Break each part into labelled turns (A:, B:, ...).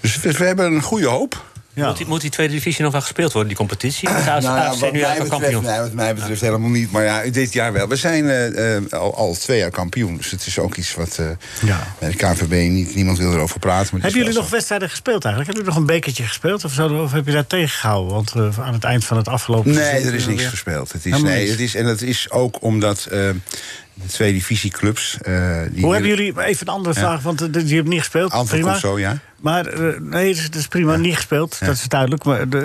A: Dus we, we hebben een goede hoop.
B: Ja.
C: Moet, die, moet die tweede divisie nog wel gespeeld worden, die competitie? Want de AFC
A: Nou, wat,
C: nu
A: mij
C: eigenlijk al
A: betreft,
C: kampioen.
A: nee, wat mij betreft helemaal niet. Maar ja, dit jaar wel. We zijn eh, eh, al, al twee jaar kampioen. Dus het is ook iets wat eh,
B: Ja.
A: bij de KNVB niet, niemand wil erover praten. maar het
B: Hebben
A: is
B: jullie
A: wel
B: nog
A: zo.
B: wedstrijden gespeeld eigenlijk? Hebben jullie nog een bekertje gespeeld? Of, zo, of heb je daar tegengehouden? Want eh, aan het eind van het afgelopen
A: Nee,
B: seizoen
A: er is
B: weer-
A: niks gespeeld. Het is,
B: Helemaal
A: nee,
B: niks.
A: het is, en dat is ook omdat eh, de twee divisieclubs... eh, die
B: Hoe hebben jullie, even een andere vraag, want eh, je hebt niet gespeeld.
A: Antwoord
B: prima.
A: komt zo, ja.
B: Maar eh, nee, dat is- dat is prima, niet gespeeld, dat is duidelijk. Maar de,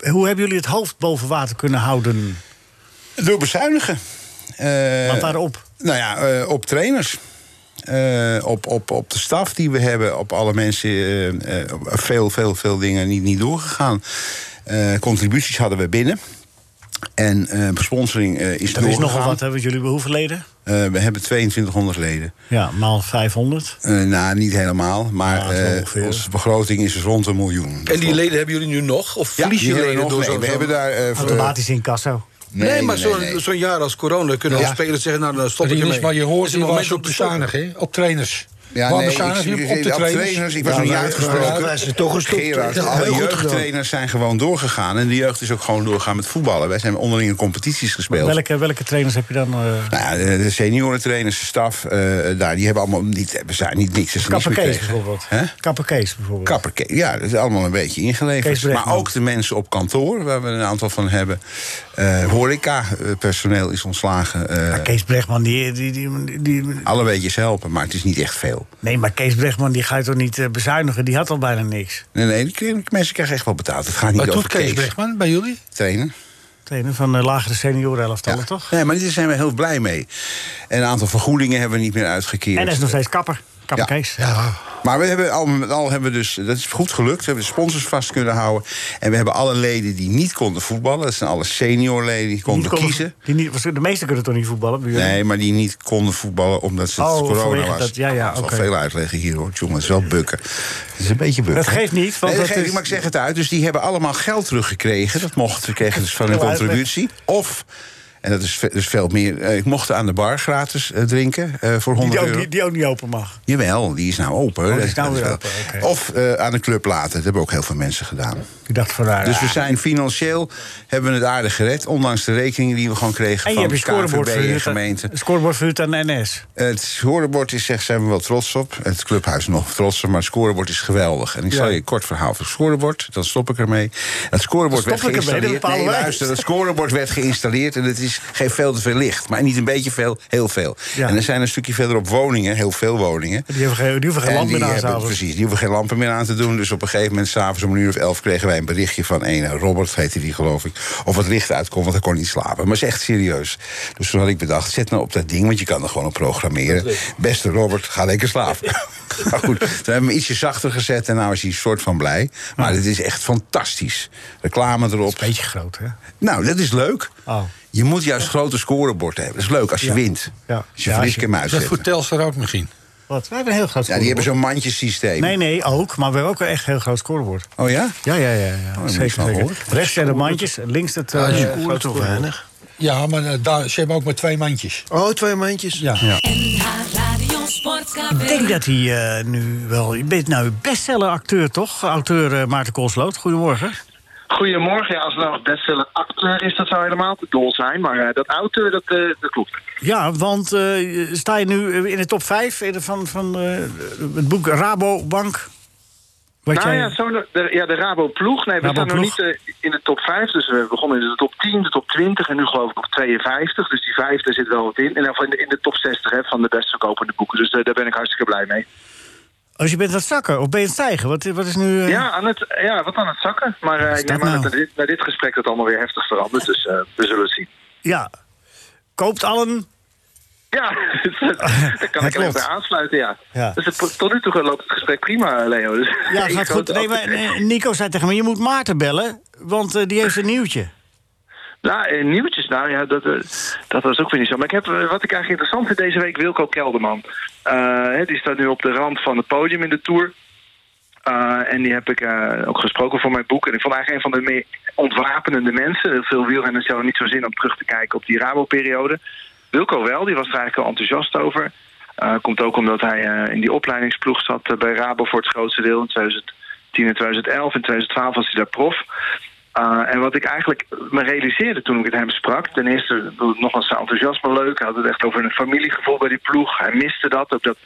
B: eh, hoe hebben jullie het hoofd boven water kunnen houden?
A: Door bezuinigen. Eh,
B: Want daarop.
A: Nou ja, eh, op trainers. Eh, op, op, op de staf die we hebben, op alle mensen, eh, eh, op veel, veel, veel dingen niet, niet doorgegaan. Eh, contributies hadden we binnen. En eh sponsoring eh, is
B: Er is nogal
A: doorgegaan.
B: wat, hè, want jullie hebben hoeveel leden?
A: Eh, we hebben 2200 leden.
B: Ja, maal 500.
A: Eh, nou, niet helemaal, maar
B: Ja, zo
A: eh,
B: ongeveer.
A: onze begroting is rond een miljoen.
D: En die leden hebben jullie nu nog? Of
A: Ja,
D: verlies
A: die
D: je
A: hebben we
D: leden
A: nog.
D: door
A: Nee,
D: zo'n...
A: We hebben daar... eh,
B: Automatisch in Casso.
D: Nee, maar zo'n
A: nee.
D: zo'n jaar als corona kunnen
A: Ja.
D: al spelers zeggen... nou, dan stop ik
E: Rinus,
D: ermee.
E: maar je hoort
D: Het is
E: hem
D: een
E: wel
D: moment
E: eens op
D: om te stoppen.
E: bezuinigen, hè? op trainers.
A: Ja,
E: Waar
A: nee,
E: bezuinig
A: ik-
E: je
A: ik-
E: op? Op de
A: op
E: trainers?
A: Ik was
E: Ja,
A: nog niet
E: wij-
A: uitgesproken.
E: wij zijn toch gestopt.
A: Gerard,
E: Ja,
A: alle
E: heel goed gedaan.
A: jeugdtrainers zijn gewoon doorgegaan. En de jeugd is ook gewoon doorgaan met voetballen. Wij zijn onderling in competities gespeeld.
B: Welke, welke trainers heb je dan? eh
A: Nou ja, de, de seniorentrainers, de staf, eh, daar, die hebben allemaal niet, we zijn niet niks. Dus
B: Kapper Kees bijvoorbeeld.
A: bijvoorbeeld. Hè?
B: Kapper Kees bijvoorbeeld.
A: Kapper, Kees, ja, dat is allemaal een beetje ingeleverd.
B: Kees Brechtman.
A: Maar ook de mensen op kantoor, waar we een aantal van hebben. Eh horeca, eh, personeel is ontslagen. eh,
B: Maar Kees Bregman, die, die, die, die-
A: alle weetjes helpen, maar het is niet echt veel.
B: Nee, maar Kees Bregman, die ga je toch niet eh, bezuinigen? Die had al bijna niks.
A: Nee, nee, die kri- die mensen krijgen echt wel betaald. Het gaat niet
E: Wat doet
A: over
E: Kees
A: Kees,
E: Brechtman bij jullie?
A: trainen.
B: Trainer van de lagere senioren elftallen, toch?
A: Nee, maar daar zijn we heel blij mee. En een aantal vergoedingen hebben we niet meer uitgekeerd.
B: En er is nog steeds kapper. Kapper
A: Ja.
B: Kees.
E: Ja,
A: Maar we hebben al met al hebben we dus, dat is goed gelukt. We hebben de sponsors vast kunnen houden. En we hebben alle leden die niet konden voetballen. Dat zijn alle seniorleden die konden
B: Die konden-
A: kiezen.
B: Die niet, waarschijnlijk- de meesten kunnen toch niet voetballen? bij jullie?
A: Nee, maar die niet konden voetballen omdat ze
B: Oh,
A: het corona
B: vanwege
A: was.
B: dat- ja, ja,
A: Ik zal
B: oké.
A: veel uitleggen hier hoor, jongens. Het is wel bukken. Het is een beetje bukken.
B: Dat geeft niet, want
A: nee, dat
B: dat
A: geeft
B: is-
A: niet, maar ik zeg het uit. Dus die hebben allemaal geld teruggekregen. Dat mochten ze kregen dus van hun
B: Veel uitleg.
A: contributie. Of... En dat is, ve- dus veel meer. Eh, ik mocht aan de bar gratis eh, drinken eh, voor 100
B: Die ook,
A: euro.
B: die, die ook niet open mag.
A: Jawel, die is nou open.
B: die is nou
A: Dat
B: weer
A: wel-
B: open, oké.
A: Of eh, aan de club laten. Dat hebben ook heel veel mensen gedaan.
B: Ik dacht van nou,
A: Dus
B: ja.
A: we zijn financieel, hebben we het aardig gered. Ondanks de rekeningen die we gewoon kregen
B: En je
A: van
B: hebt je
A: KNVB
B: scorebord
A: en
B: verhuurd,
A: gemeente.
B: aan- scorebord verhuurd aan de NS.
A: Het scorebord is echt, zijn we wel trots op. Het clubhuis nog trots op, maar het scorebord is geweldig. En ik zal je een kort verhaal van het scorebord, dan stop ik ermee. Het scorebord
B: Dan
A: werd
B: stop ik ermee,
A: geïnstalleerd.
B: dat bepalen
A: nee,
B: wij.
A: luister, het scorebord werd geïnstalleerd en het is, geeft veel te veel licht. Maar niet een beetje veel, heel veel.
B: Ja.
A: En er zijn een stukje verderop woningen, heel veel woningen.
B: Die hebben geen, die hoeven geen
A: En
B: land meer
A: die
B: aan
A: hebben-
B: s'avonds.
A: Precies, die hoeven geen lampen meer aan te doen. Dus op een gegeven moment, s'avonds om een uur of elf... kregen wij een berichtje van een Robert, heette die geloof ik... of het licht uitkomt, want hij kon niet slapen. Maar het is echt serieus. Dus toen had ik bedacht, zet nou op dat ding... want je kan er gewoon op programmeren. Beste Robert, ga lekker slapen. maar goed, toen hebben we hem ietsje zachter gezet... en nou is hij een soort van blij. Maar dit is echt fantastisch. Reclame erop.
B: Beetje groot, hè?
A: Nou, dat is leuk.
B: Oh.
A: Je moet juist grote scorebord hebben. Dat is leuk als je wint.
B: Ja.
A: Als je
B: Ja, als
A: verliest,
B: je-
A: kan je hem
E: Is dat voor
A: uitzetten.
E: Telstar ook misschien?
B: Wat? We hebben een heel groot
A: Ja, die hebben
B: scorebord.
A: zo'n mandjesysteem.
B: Nee, nee, ook. Maar we hebben ook een echt heel groot scorebord.
A: Oh ja?
B: Ja, ja, ja. ja.
A: moet ik
B: zeker,
A: wel
B: zeker.
A: horen.
B: Rechts zijn de mandjes, links het... eh,
F: Je
B: grote
F: scoren toch
B: scorebord.
F: weinig?
E: Ja, maar eh, daar, ze hebben ook maar twee mandjes.
F: Oh, twee mandjes.
E: Ja.
G: NH Radio Sportcafé.
B: Ik denk dat hij eh, nu wel... Je bent nou bestseller acteur, toch? Auteur eh, Maarten Koolsloot. Goedemorgen.
H: Goedemorgen. Ja, als het nou bestseller acteur is, dat zou helemaal te dol zijn. Maar eh, dat auteur, dat, eh, dat klopt.
B: Ja, want eh, sta je nu eh, in de top 5 van, van eh, het boek Rabobank? Wat
H: nou
B: jij-
H: ja, zo, de, ja, de Rabo-ploeg. Nee, we staan nog
B: Rabo-ploeg.
H: niet eh, in de top 5. Dus we begonnen in de top 10, de top 20 en nu geloof ik op 52. Dus die vijfde zit wel wat in. En dan in de, in de top 60 hè, van de best verkopende boeken. Dus eh, daar ben ik hartstikke blij mee.
B: Als Oh, je bent aan het zakken, of ben je aan het stijgen? Wat, wat is nu... eh,
H: Ja, aan het, ja, wat aan het zakken. Maar eh,
B: is
H: ik
B: dat
H: neem aan
B: nou?
H: dat na dit, na dit gesprek dat allemaal weer heftig verandert. Dus eh, we zullen het zien.
B: ja. Koopt allen...
H: Ja, daar kan
B: klopt.
H: ik alleen bij aansluiten, ja.
B: Ja.
H: Dus het- tot nu toe loopt het gesprek prima, Leo. Dus
B: Ja,
H: ik
B: gaat
H: hoop
B: goed.
H: dat-
B: Nee, maar, nee, Nico zei tegen me, je moet Maarten bellen, want eh, die heeft een nieuwtje.
H: Nou, eh, nieuwtjes, nou ja, dat, eh, dat was ook weer niet zo. Maar ik heb, eh, wat ik eigenlijk interessant vind deze week, Wilco Kelderman. Eh, hè, die staat nu op de rand van het podium in de Tour. Eh, en die heb ik eh, ook gesproken voor mijn boek. En ik vond eigenlijk een van de meer ontwapenende mensen. Heel veel wielrenners hadden niet zo zin om terug te kijken op die Rabo-periode. Wilco wel, die was er eigenlijk al enthousiast over. Eh, komt ook omdat hij eh, in die opleidingsploeg zat eh, bij Rabo voor het grootste deel in 2010 en 2011. In 2012 was hij daar prof. Eh, en wat ik eigenlijk me realiseerde toen ik met hem sprak... ten eerste, ik bedoel, nogmaals zijn enthousiasme leuk. Hij had het echt over een familiegevoel bij die ploeg. Hij miste dat, ook dat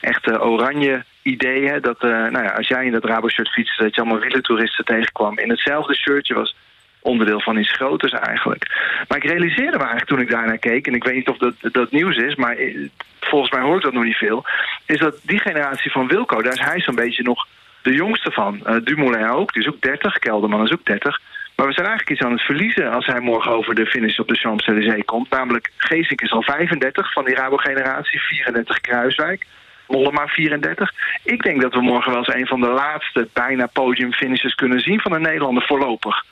H: echte oranje idee. Hè, dat eh, nou ja, als jij in dat Rabo-shirt fietste, dat je allemaal wielertoeristen tegenkwam in hetzelfde shirtje was onderdeel van iets groters eigenlijk. Maar ik realiseerde me eigenlijk toen ik daarnaar keek... en ik weet niet of dat, dat nieuws is, maar eh, volgens mij hoor ik dat nog niet veel... is dat die generatie van Wilco, daar is hij zo'n beetje nog de jongste van. Eh, Dumoulin ook, die is ook 30, Kelderman is ook 30. Maar we zijn eigenlijk iets aan het verliezen... als hij morgen over de finish op de Champs-Élysées komt. Namelijk, Geesink is al 35 van die Rabo-generatie, 34 Kruiswijk... Mollema 34. Ik denk dat we morgen wel eens een van de laatste bijna podium finishers kunnen zien van een Nederlander voorlopig.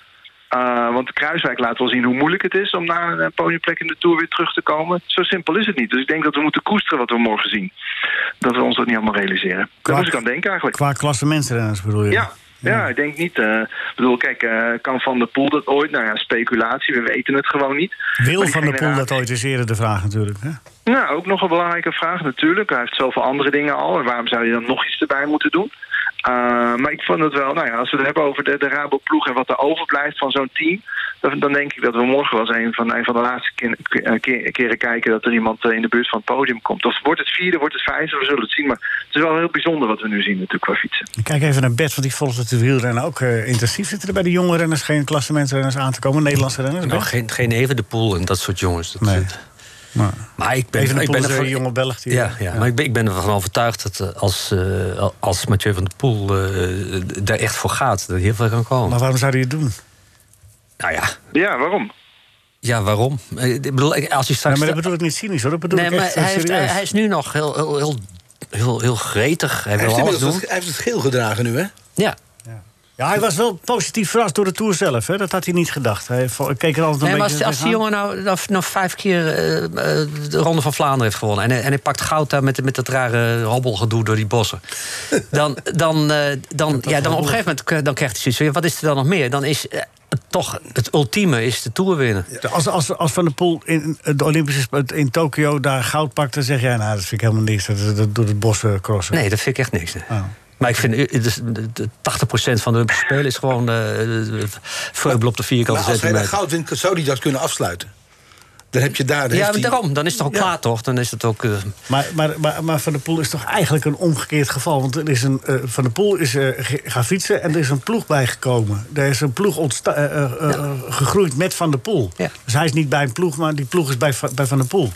H: Eh, want Kruiswijk laat wel zien hoe moeilijk het is om na een eh, podiumplek in de Tour weer terug te komen. Zo simpel is het niet. Dus ik denk dat we moeten koesteren wat we morgen zien. Dat we ons dat niet allemaal realiseren.
B: Kwak.
H: Daar moest ik aan denken eigenlijk.
B: Qua klasse mensenrenners bedoel je?
H: Ja. Ja, ik denk niet. eh, ik bedoel, kijk, eh, kan Van der Poel dat ooit? Nou ja, speculatie, we weten het gewoon niet.
B: Wil
H: Maar die
B: van der Poel
H: generatie-
B: dat ooit is eerder de vraag natuurlijk. Hè?
H: nou, ook nog een belangrijke vraag natuurlijk. Hij heeft zoveel andere dingen al. En waarom zou je dan nog iets erbij moeten doen? Eh, maar ik vond het wel, nou ja, als we het hebben over de, de Rabo-ploeg en wat er overblijft van zo'n team. Dan, dan denk ik dat we morgen wel eens een van, een van de laatste kin- eh, keer- keren kijken dat er iemand eh, in de buurt van het podium komt. Of wordt het vierde, wordt het vijfde, we zullen het zien. Maar het is wel heel bijzonder wat we nu zien natuurlijk qua fietsen.
B: Ik kijk even naar Bert, want die volgt het wielrennen ook eh, intensief. Zitten er bij de jonge renners geen klasse mensenrenners aan te komen? Nederlandse renners?
C: Nou,
B: Bert?
C: geen, geen even de pool en dat soort jongens. Dat,
B: Nee. Maar-
C: Maar ik ben,
B: Even een
C: ik ben
B: Poolse
C: ervan-
B: jonge Belg die-
C: Ja, ja, maar ik ben, ik ben ervan overtuigd dat eh, als, eh, als Mathieu van der Poel eh, daar echt voor gaat, dat hij heel veel kan komen.
B: Maar waarom zou hij het doen?
C: nou ja,
H: Ja, waarom?
C: ja, waarom? Eh, Ik bedoel, ik- als hij
B: Nou,
C: straks.
B: maar dat bedoel ik niet cynisch hoor, dat bedoel
C: nee,
B: ik
C: maar
B: echt eh,
C: hij, heeft- hij,
B: serieus.
C: hij is nu nog heel, heel, heel, heel, heel gretig. Hij
F: Hij
C: wil
F: heeft,
C: alles
F: inmiddels
C: doen.
F: het- hij heeft het geel gedragen nu, hè?
C: Ja.
B: Ja, hij was wel positief verrast door de Tour zelf, hè? dat had hij niet gedacht. Hij vo- keek er altijd een
C: Nee, maar
B: beetje
C: als, als die
B: tegenaan.
C: jongen nou, nou, nou vijf keer eh, eh, de Ronde van Vlaanderen heeft gewonnen... en, hij- en hij pakt goud daar met, met dat rare hobbelgedoe door die bossen... dan, dan, eh, dan, ja, dan op een gegeven moment k- dan krijgt hij zoiets van... ja, wat is er dan nog meer? Dan is eh, het toch het ultieme is de Tour winnen.
B: Als, als, als Van der Poel in de Olympische Spelen in Tokio daar goud pakt... dan zeg jij, nou, dat vind ik helemaal niks. Dat, dat doet het bos eh, crossen.
C: Nee, dat vind ik echt niks. hè.
B: Oh.
C: Maar ik vind, eh, dus, de- de 80% van de Olympische Spelen is gewoon eh eh, vreubel op de vierkante
D: Maar als hij dat
C: centimeter.
D: goud wint, zou hij dat kunnen afsluiten. Dan heb je daar... dan
C: Ja,
D: heeft
C: maar
D: hij-
C: daarom. Dan is het toch
B: Ja.
C: klaar, toch? Dan is het ook... eh,
B: Maar, maar, maar, maar Van der Poel is toch eigenlijk een omgekeerd geval? Want er is een, eh, Van der Poel is eh, ge- gaan fietsen en er is een ploeg bijgekomen. Er is een ploeg ontsta- eh, eh, eh, gegroeid met Van der Poel.
C: Ja.
B: Dus hij is niet bij een ploeg, maar die ploeg is bij, Va- bij Van der Poel.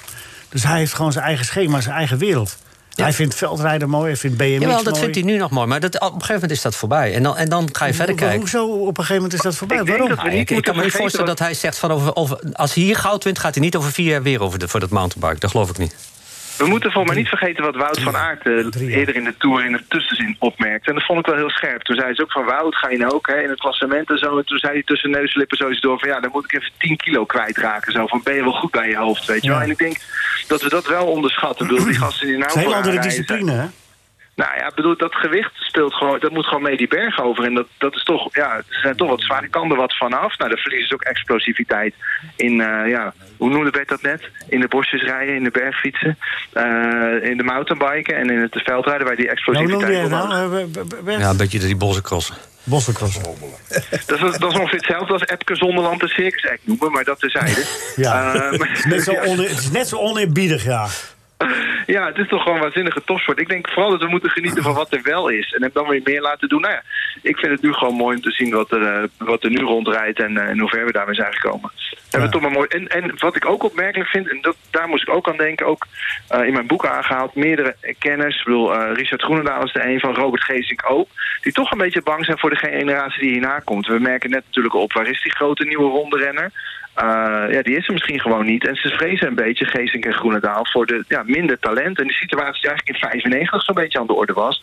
B: Dus hij heeft gewoon zijn eigen schema, zijn eigen wereld. Hij vindt veldrijden mooi, hij vindt BMX
C: Jawel, dat
B: mooi.
C: vindt hij nu nog mooi. Maar dat, op een gegeven moment is dat voorbij. En dan, en dan ga je verder
B: Ho-
C: kijken.
B: Hoezo op een gegeven moment is dat voorbij?
H: Ik denk
B: Waarom?
H: dat we
C: Nou,
H: niet
C: ik, ik kan me
H: moeten
C: niet
H: vergeten
C: voorstellen
H: dat-
C: dat hij zegt... Van over, over, als hij hier goud wint, gaat hij niet over vier jaar weer over de, voor dat mountainbike. Dat geloof ik niet.
H: We moeten voor mij niet vergeten wat Wout van Aert eh, eerder in de Tour in de tussenzin opmerkte. En dat vond ik wel heel scherp. Toen zei ze ook van Wout, ga je nou ook hè, in het klassement en zo. En toen zei hij tussen neus en lippen zoiets door van ja, dan moet ik even 10 kilo kwijtraken. Zo van ben je wel goed bij je hoofd, weet je wel.
B: Ja.
H: En ik denk dat we dat wel onderschatten. Ik bedoel, die gasten die nou
B: Het is een hele
H: vooraan
B: andere
H: rijden zijn-
B: discipline, hè?
H: nou ja, ik bedoel, dat gewicht speelt gewoon, dat moet gewoon mee die berg over. En dat, dat is toch, ja, er zijn toch wat zware kanten wat vanaf. Nou, dan verliezen ze ook explosiviteit in, eh, ja, hoe noemde Bert dat net? In de bosjes rijden, in de bergfietsen, eh, in de mountainbiken en in het veldrijden waar die
B: Nou, noem jij
H: explosiviteit wel nodig is.
B: nou? eh,
C: Ja,
B: eh,
C: een beetje die bossencrossen.
B: Bossencrossen.
H: Dat is, dat is ongeveer hetzelfde als Epke Zonderland de Circus Act noemen, maar dat terzijde.
B: Ja.
H: Eh, maar-
B: Het is net zo one- Het is net zo oneerbiedig, ja.
H: Ja, het is toch gewoon een waanzinnige topsport. Ik denk vooral dat we moeten genieten van wat er wel is. En hem dan weer meer laten doen. Nou ja, ik vind het nu gewoon mooi om te zien wat er, eh, wat er nu rondrijdt en, eh, en hoe ver we daarmee zijn gekomen. En, we toch maar mooi. En, en wat ik ook opmerkelijk vind, en dat, daar moest ik ook aan denken, ook eh, in mijn boek aangehaald, meerdere kenners, ik bedoel, eh, Richard Groenendaal is er een van, Robert Geesink ook, die toch een beetje bang zijn voor de generatie die hierna komt. We merken net natuurlijk op, waar is die grote nieuwe rondrenner? Eh, ja, die is er misschien gewoon niet. En ze vrezen een beetje, Geesink en Groenendaal, voor de ja, minder talent. En de situatie die eigenlijk in 95 zo'n beetje aan de orde was.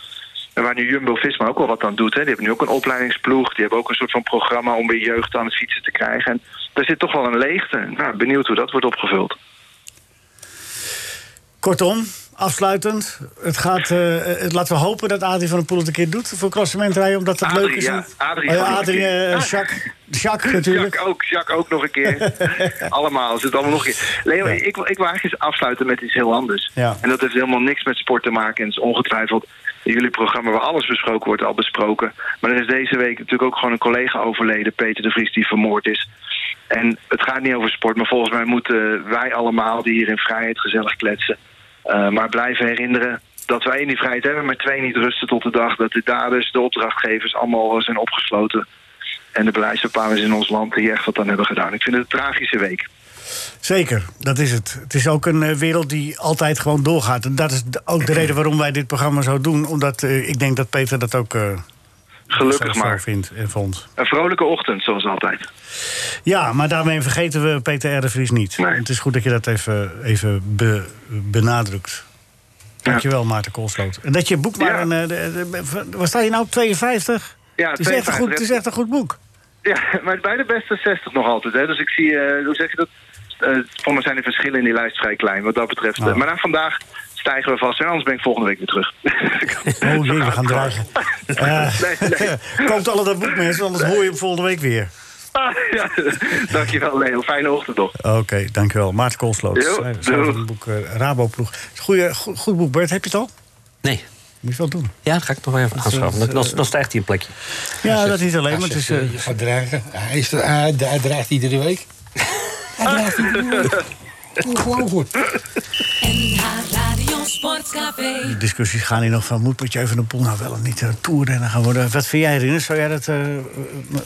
H: En waar nu Jumbo-Visma ook wel wat aan doet. Hè. Die hebben nu ook een opleidingsploeg. Die hebben ook een soort van programma om weer jeugd aan het fietsen te krijgen. En daar zit toch wel een leegte. Nou, benieuwd hoe dat wordt opgevuld.
B: Kortom, afsluitend. Het gaat, eh, het, laten we hopen dat Adrie van der Poel het een keer doet voor klassementrijden. Omdat dat
H: Adrie,
B: leuk is.
H: ja.
B: om-
H: Adrie
B: oh, ja,
H: gewoon nog een
B: Adrie,
H: keer.
B: eh, Jacques. Jacques natuurlijk.
H: Jacques ook, Jacques ook nog een keer. allemaal, het zit allemaal nog een keer. Leo,
B: Ja.
H: ik, wil- ik wil eigenlijk eens afsluiten met iets heel anders.
B: Ja.
H: En dat heeft helemaal niks met sport te maken. En het is ongetwijfeld in jullie programma waar alles besproken wordt al besproken. Maar er is deze week natuurlijk ook gewoon een collega overleden, Peter de Vries, die vermoord is. En het gaat niet over sport, maar volgens mij moeten wij allemaal die hier in vrijheid gezellig kletsen. eh, maar blijven herinneren dat wij in die vrijheid hebben, maar twee niet rusten tot de dag. Dat de daders, de opdrachtgevers allemaal eh, zijn opgesloten. En de beleidsbepalers in ons land die echt wat aan hebben gedaan. Ik vind het een tragische week.
B: Zeker, dat is het. Het is ook een eh, wereld die altijd gewoon doorgaat. En dat is de- ook de reden waarom wij dit programma zo doen. Omdat eh, ik denk dat Peter dat ook eh,
H: Gelukkig
B: zo- zo
H: maar.
B: vindt en vond.
H: Een vrolijke ochtend, zoals altijd.
B: Ja, maar daarmee vergeten we Peter R. de Vries niet.
H: Nee.
B: Het is goed dat je dat even, even be- benadrukt. Dankjewel, Maarten Koolsloot. En dat je boek maar...
H: Ja.
B: Een, eh, de- de- de- waar sta je nou? 52?
H: Ja,
B: het, is echt een goed,
H: 52.
B: het is echt een goed boek.
H: Ja, maar bij de beste 60 nog altijd. Hè. Dus ik zie, eh, hoe zeg je dat? Eh voor mij zijn de verschillen in die lijst vrij klein, wat dat betreft.
B: Nou.
H: Eh, maar na vandaag stijgen we vast. En anders ben ik volgende week weer terug.
B: Oh jee, we gaan dreigen. Eh
H: Nee, nee.
B: Koopt alle dat boek, mensen, anders hoor je hem volgende week weer.
H: Ah, ja. Dankjewel, Leo. Fijne ochtend nog.
B: Oké, dankjewel. Maarten Koolsloot.
H: Jo,
B: schrijver- schrijver van
H: doei.
B: het boek eh, Raboploeg. Goeie, go- goed boek, Bert. Heb je het al?
C: Nee.
B: Moet je wel doen.
C: Ja, dat ga ik nog wel even aanschaffen. Dan, dan, dan stijgt hij een plekje.
B: Ja, dat niet alleen, maar het is... eh,
I: Je gaat dreigen. Hij, is er, hij, hij dreigt iedere week. Hij dreigt iedere week. Ongelooflijk.
G: NH Radio Sportcafé.
B: De discussies gaan hier nog van... moet Mathieu van der Poel nou wel of niet toeren toerrenner gaan worden? Wat vind jij, Rinus? Zou jij dat eh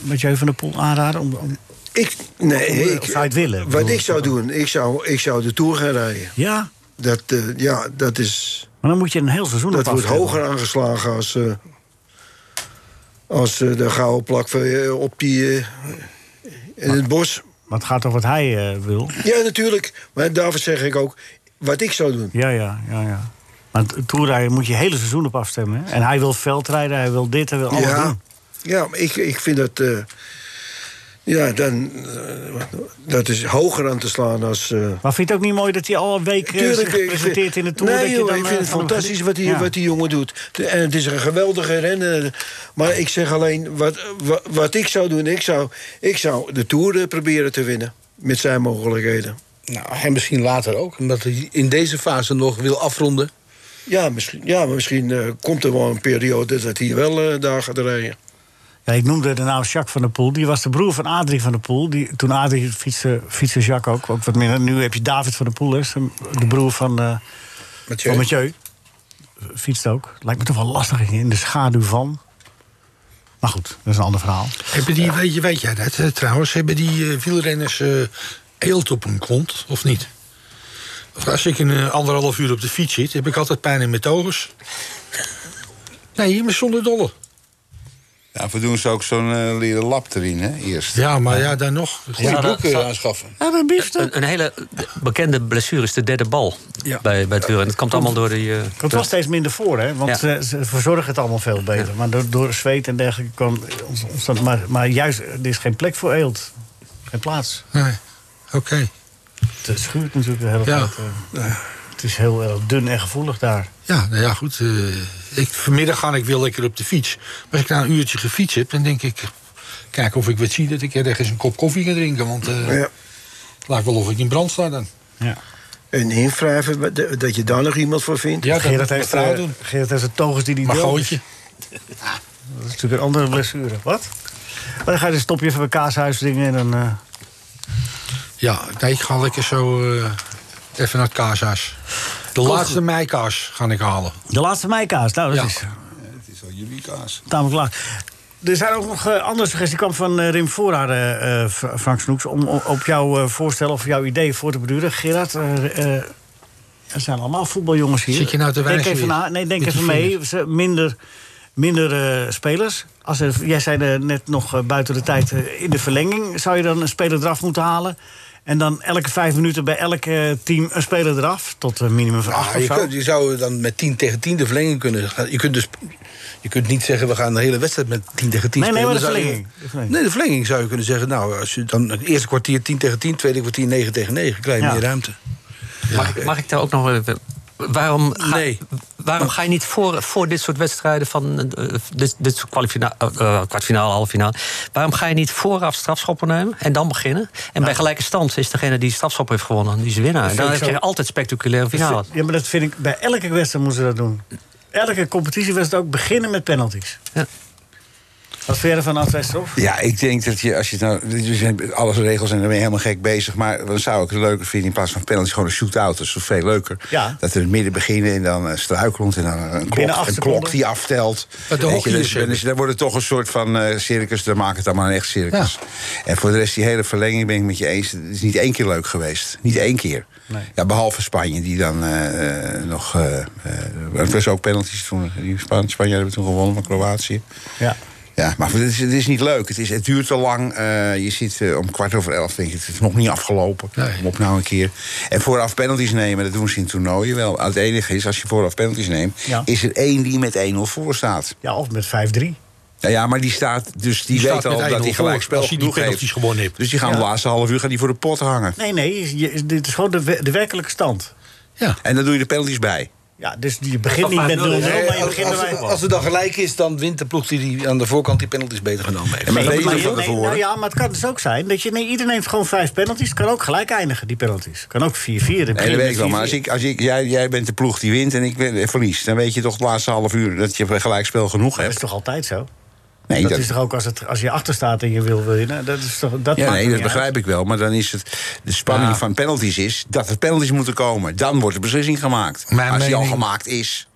B: Mathieu van der Poel aanraden? Om, om-
F: Ik, nee,
B: Of- eh,
F: ik,
B: of zou je het willen? Ik
F: Wat
B: bedoel,
F: ik zou doen, ik zou, ik zou de Tour gaan rijden.
B: Ja,
F: Dat, eh, ja, dat, is,
B: maar dan moet je een heel seizoen
F: dat
B: op
F: wordt
B: afstellen.
F: hoger aangeslagen als, eh, als eh, de gouden plak van, eh, op die, eh, in het bos.
B: Maar het gaat toch wat hij eh, wil?
F: Ja, natuurlijk. Maar daarvoor zeg ik ook wat ik zou doen.
B: Ja, ja, ja, ja. Maar t- toerrijden moet je hele seizoen op afstemmen. hè? En hij wil veldrijden, hij wil dit, hij wil alles
F: ja,
B: doen.
F: ja maar ik, ik vind dat. eh, Ja, dan, eh, dat is hoger aan te slaan als... eh,
B: Maar vind je het ook niet mooi dat hij al een week eh,
F: Tuurlijk,
B: zich
F: ik vind-
B: presenteert in de Tour?
F: Nee,
B: dat je
F: joh,
B: dan,
F: ik
B: eh,
F: vind het
B: van hem
F: fantastisch
B: geniet?
F: wat die,
B: Ja.
F: wat die jongen doet. De- En het is een geweldige renner. Maar ik zeg alleen, wat, wat, wat ik zou doen... Ik zou, ik zou de Tour eh, proberen te winnen. Met zijn mogelijkheden.
D: Nou, en misschien later ook. Omdat hij in deze fase nog wil afronden.
F: Ja, misschien, ja, maar misschien eh, komt er wel een periode dat hij wel eh, daar gaat rijden.
B: Ja, ik noemde de naam Jacques van der Poel. Die was de broer van Adrie van der Poel. Die, toen Adrie fietste, fietste Jacques ook, ook wat minder. Nu heb je David van der Poel, hè, zijn- de broer van, eh
F: Mathieu.
B: van Mathieu. Fietst ook. Lijkt me toch wel lastig in de schaduw van. Maar goed, dat is een ander verhaal.
E: Hebben die, weet, je, weet jij dat eh, trouwens? Hebben die eh, wielrenners eh eelt op hun kont, of niet? Of als ik een eh, anderhalf uur op de fiets zit, heb ik altijd pijn in mijn togens. Nee, maar zonder dolle.
A: Daarvoor Nou, doen ze ook zo'n eh, leren lap erin, hè, eerst.
E: Ja, maar ja, dan nog. eh,
D: Goede
C: Ja, dat-
D: broeken
C: dat-
D: aanschaffen.
B: Ja, een biefstuk.
C: Een, een hele bekende blessure is de derde bal
D: Ja.
C: bij, bij het wiel. En dat komt allemaal door die... eh,
B: Het was steeds minder voor, hè? Want
C: Ja.
B: ze, ze verzorgen het allemaal veel beter. Maar door, door zweet en dergelijke kwam ons- ontstaat. Maar, maar juist, er is geen plek voor eelt. Geen plaats.
E: Nee, oké.
B: Het schuurt natuurlijk de hele
E: Ja.
B: tijd. eh. Het is heel eh, dun en gevoelig daar.
E: Ja, nou ja, goed. eh, ik, vanmiddag ga ik weer lekker op de fiets. Maar als ik na een uurtje gefietst heb, dan denk ik... Kijk of ik wat zie dat ik ergens een kop koffie ga drinken. Want eh
F: Ja.
E: lijkt wel of ik in brand sta dan.
B: Ja.
F: En invrijven, wat- dat je daar nog iemand voor vindt.
E: Ja,
B: Gerrit, heeft,
E: vrouw
B: eh,
E: doen.
B: Gerrit heeft een togus die die
E: Maar
B: deelt.
E: gootje.
B: Dat is natuurlijk een andere blessure. Wat? Maar dan ga je dus stop je even bij kaashuis dingen en dan... eh,
E: Ja, nee, ik ga lekker zo eh, even naar het kaashuis. De laatste meikaas ga ik halen.
B: de laatste meikaas. Nou, dat
E: Ja.
B: is
A: Het is al jullie kaas.
B: tamelijk laag. Er zijn ook nog eh, andere suggesties. Die kwam van eh, Rim Voorraad, eh, eh, Fra- Frank Snoeks... om o- op jouw eh, voorstel of jouw idee voor te beduren. Gerard, eh, eh, er zijn allemaal voetbaljongens hier.
E: Zit je nou te
B: Denk
E: wijzen
B: even,
E: weer?
B: na, nee, denk
E: Met die
B: even mee. Ze- Minder, minder eh, spelers. Als er, jij zei eh, net nog eh, buiten de tijd eh, in de verlenging... zou je dan een speler eraf moeten halen... En dan elke vijf minuten bij elk eh, team een speler eraf. Tot een minimum van acht
D: Ah,
B: of
D: je,
B: zo.
D: kunt- je zou dan met 10 tegen 10 de verlenging kunnen gaan. Je kunt, dus, je kunt niet zeggen, we gaan de hele wedstrijd met 10 tegen 10
B: Nee, nee,
D: spelen.
B: maar de
D: Dan zou je-
B: verlenging. De verlenging.
D: nee, de verlenging zou je kunnen zeggen. Nou, als je dan het eerste kwartier 10 tegen 10, tweede kwartier 9 tegen 9, krijg je
B: Ja.
D: meer ruimte.
C: Mag, ik- mag ik daar ook nog even... Waarom ga,
D: Nee.
C: waarom ga je niet voor, voor dit soort wedstrijden van eh, dit, dit soort kwalifina- eh, eh, kwartfinale, halve finale? Waarom ga je niet vooraf strafschoppen nemen en dan beginnen? En bij gelijke stand is degene die strafschop heeft gewonnen, die is de winnaar. En dan
B: vind
C: heb
B: ik
C: je
B: zo-
C: altijd spectaculaire
A: Dus,
C: finale.
A: eh,
B: Ja, maar dat vind ik bij elke wedstrijd moeten ze dat doen. Elke competitiewedstrijd ook beginnen met penalties.
C: Ja.
B: Wat verder van als wedstrijd?
A: Ja, ik denk dat je, als je het nou... dit zijn Alle regels en dan ben je helemaal gek bezig. Maar dan zou ik het leuker vinden in plaats van penalty gewoon een shootout. Dat is veel leuker.
B: Ja.
A: Dat we in het midden beginnen en dan eh, struikelend en dan een klok,
B: acht
A: een
B: seconden.
A: klok die aftelt.
E: Wat de
A: Weet je,
E: hockeyers
A: dus,
E: hebben.
A: dus dan wordt het toch een soort van eh, circus. Dan maak het allemaal een echt circus. En voor de rest, die hele verlenging ben ik met je eens. Het is niet één keer leuk geweest. Niet één keer. Ja, behalve Spanje, die dan eh, eh, nog... eh eh, het was ook penalties toen. Die Span Spanje hebben toen gewonnen van Kroatië.
B: Ja.
A: Ja, maar het is, het is niet leuk. Het, is, het duurt te lang. Eh, je zit eh, om kwart over elf, denk ik, het is nog niet afgelopen.
E: Nee.
A: Kom op nou een keer. En vooraf penalties nemen, dat doen ze in toernooien wel. Ah, Het enige is, als je vooraf penalties neemt...
B: Ja.
A: is er één die met 1-0 voor staat.
B: ja, of met 5-3.
A: Nou ja, maar die staat, dus die,
E: Die
A: weet
E: staat
A: al
E: met 1-0
A: dat hij
E: voor,
A: gelijk spel
E: als hij die
A: genoeg
E: penalties
A: heeft.
E: gewonnen heeft.
A: Dus die gaan de laatste half uur gaan die voor de pot hangen.
B: Nee, nee, je, dit is gewoon de, we- de werkelijke stand.
E: Ja.
A: En dan doe je de penalties bij.
B: Ja, dus je begint niet met 0-0, maar
C: Nee,
D: Als,
B: je
D: Eh, als,
B: begint bij
D: het- als het dan gelijk is, dan wint de ploeg die, die aan de voorkant die penalties beter genomen heeft.
A: En maar weet je
B: Maar
A: dat
B: je-
A: van
B: nee,
A: tevoren?
B: nou ja, maar het kan dus ook zijn dat je... Nee, iedereen heeft gewoon vijf penalties. Het kan ook gelijk eindigen, die penalties. Het kan ook 4-4.
A: Nee, dat weet ik wel. Maar als ik, als ik, jij, jij bent de ploeg die wint en ik ben- eh, verlies... dan weet je toch het laatste half uur dat je gelijk spel genoeg
B: Dat is
A: hebt.
B: toch altijd zo?
A: Nee,
B: dat, is toch ook als, het, als je achter staat en je wil winnen? Dat is toch... Dat
A: Ja,
B: maakt
A: nee,
B: niet
A: dat
B: uit.
A: begrijp ik wel. Maar dan is het. De spanning van penalties is dat er penalties moeten komen. Dan wordt de beslissing gemaakt.
E: Mijn
A: Als die al
E: mening-
A: gemaakt is.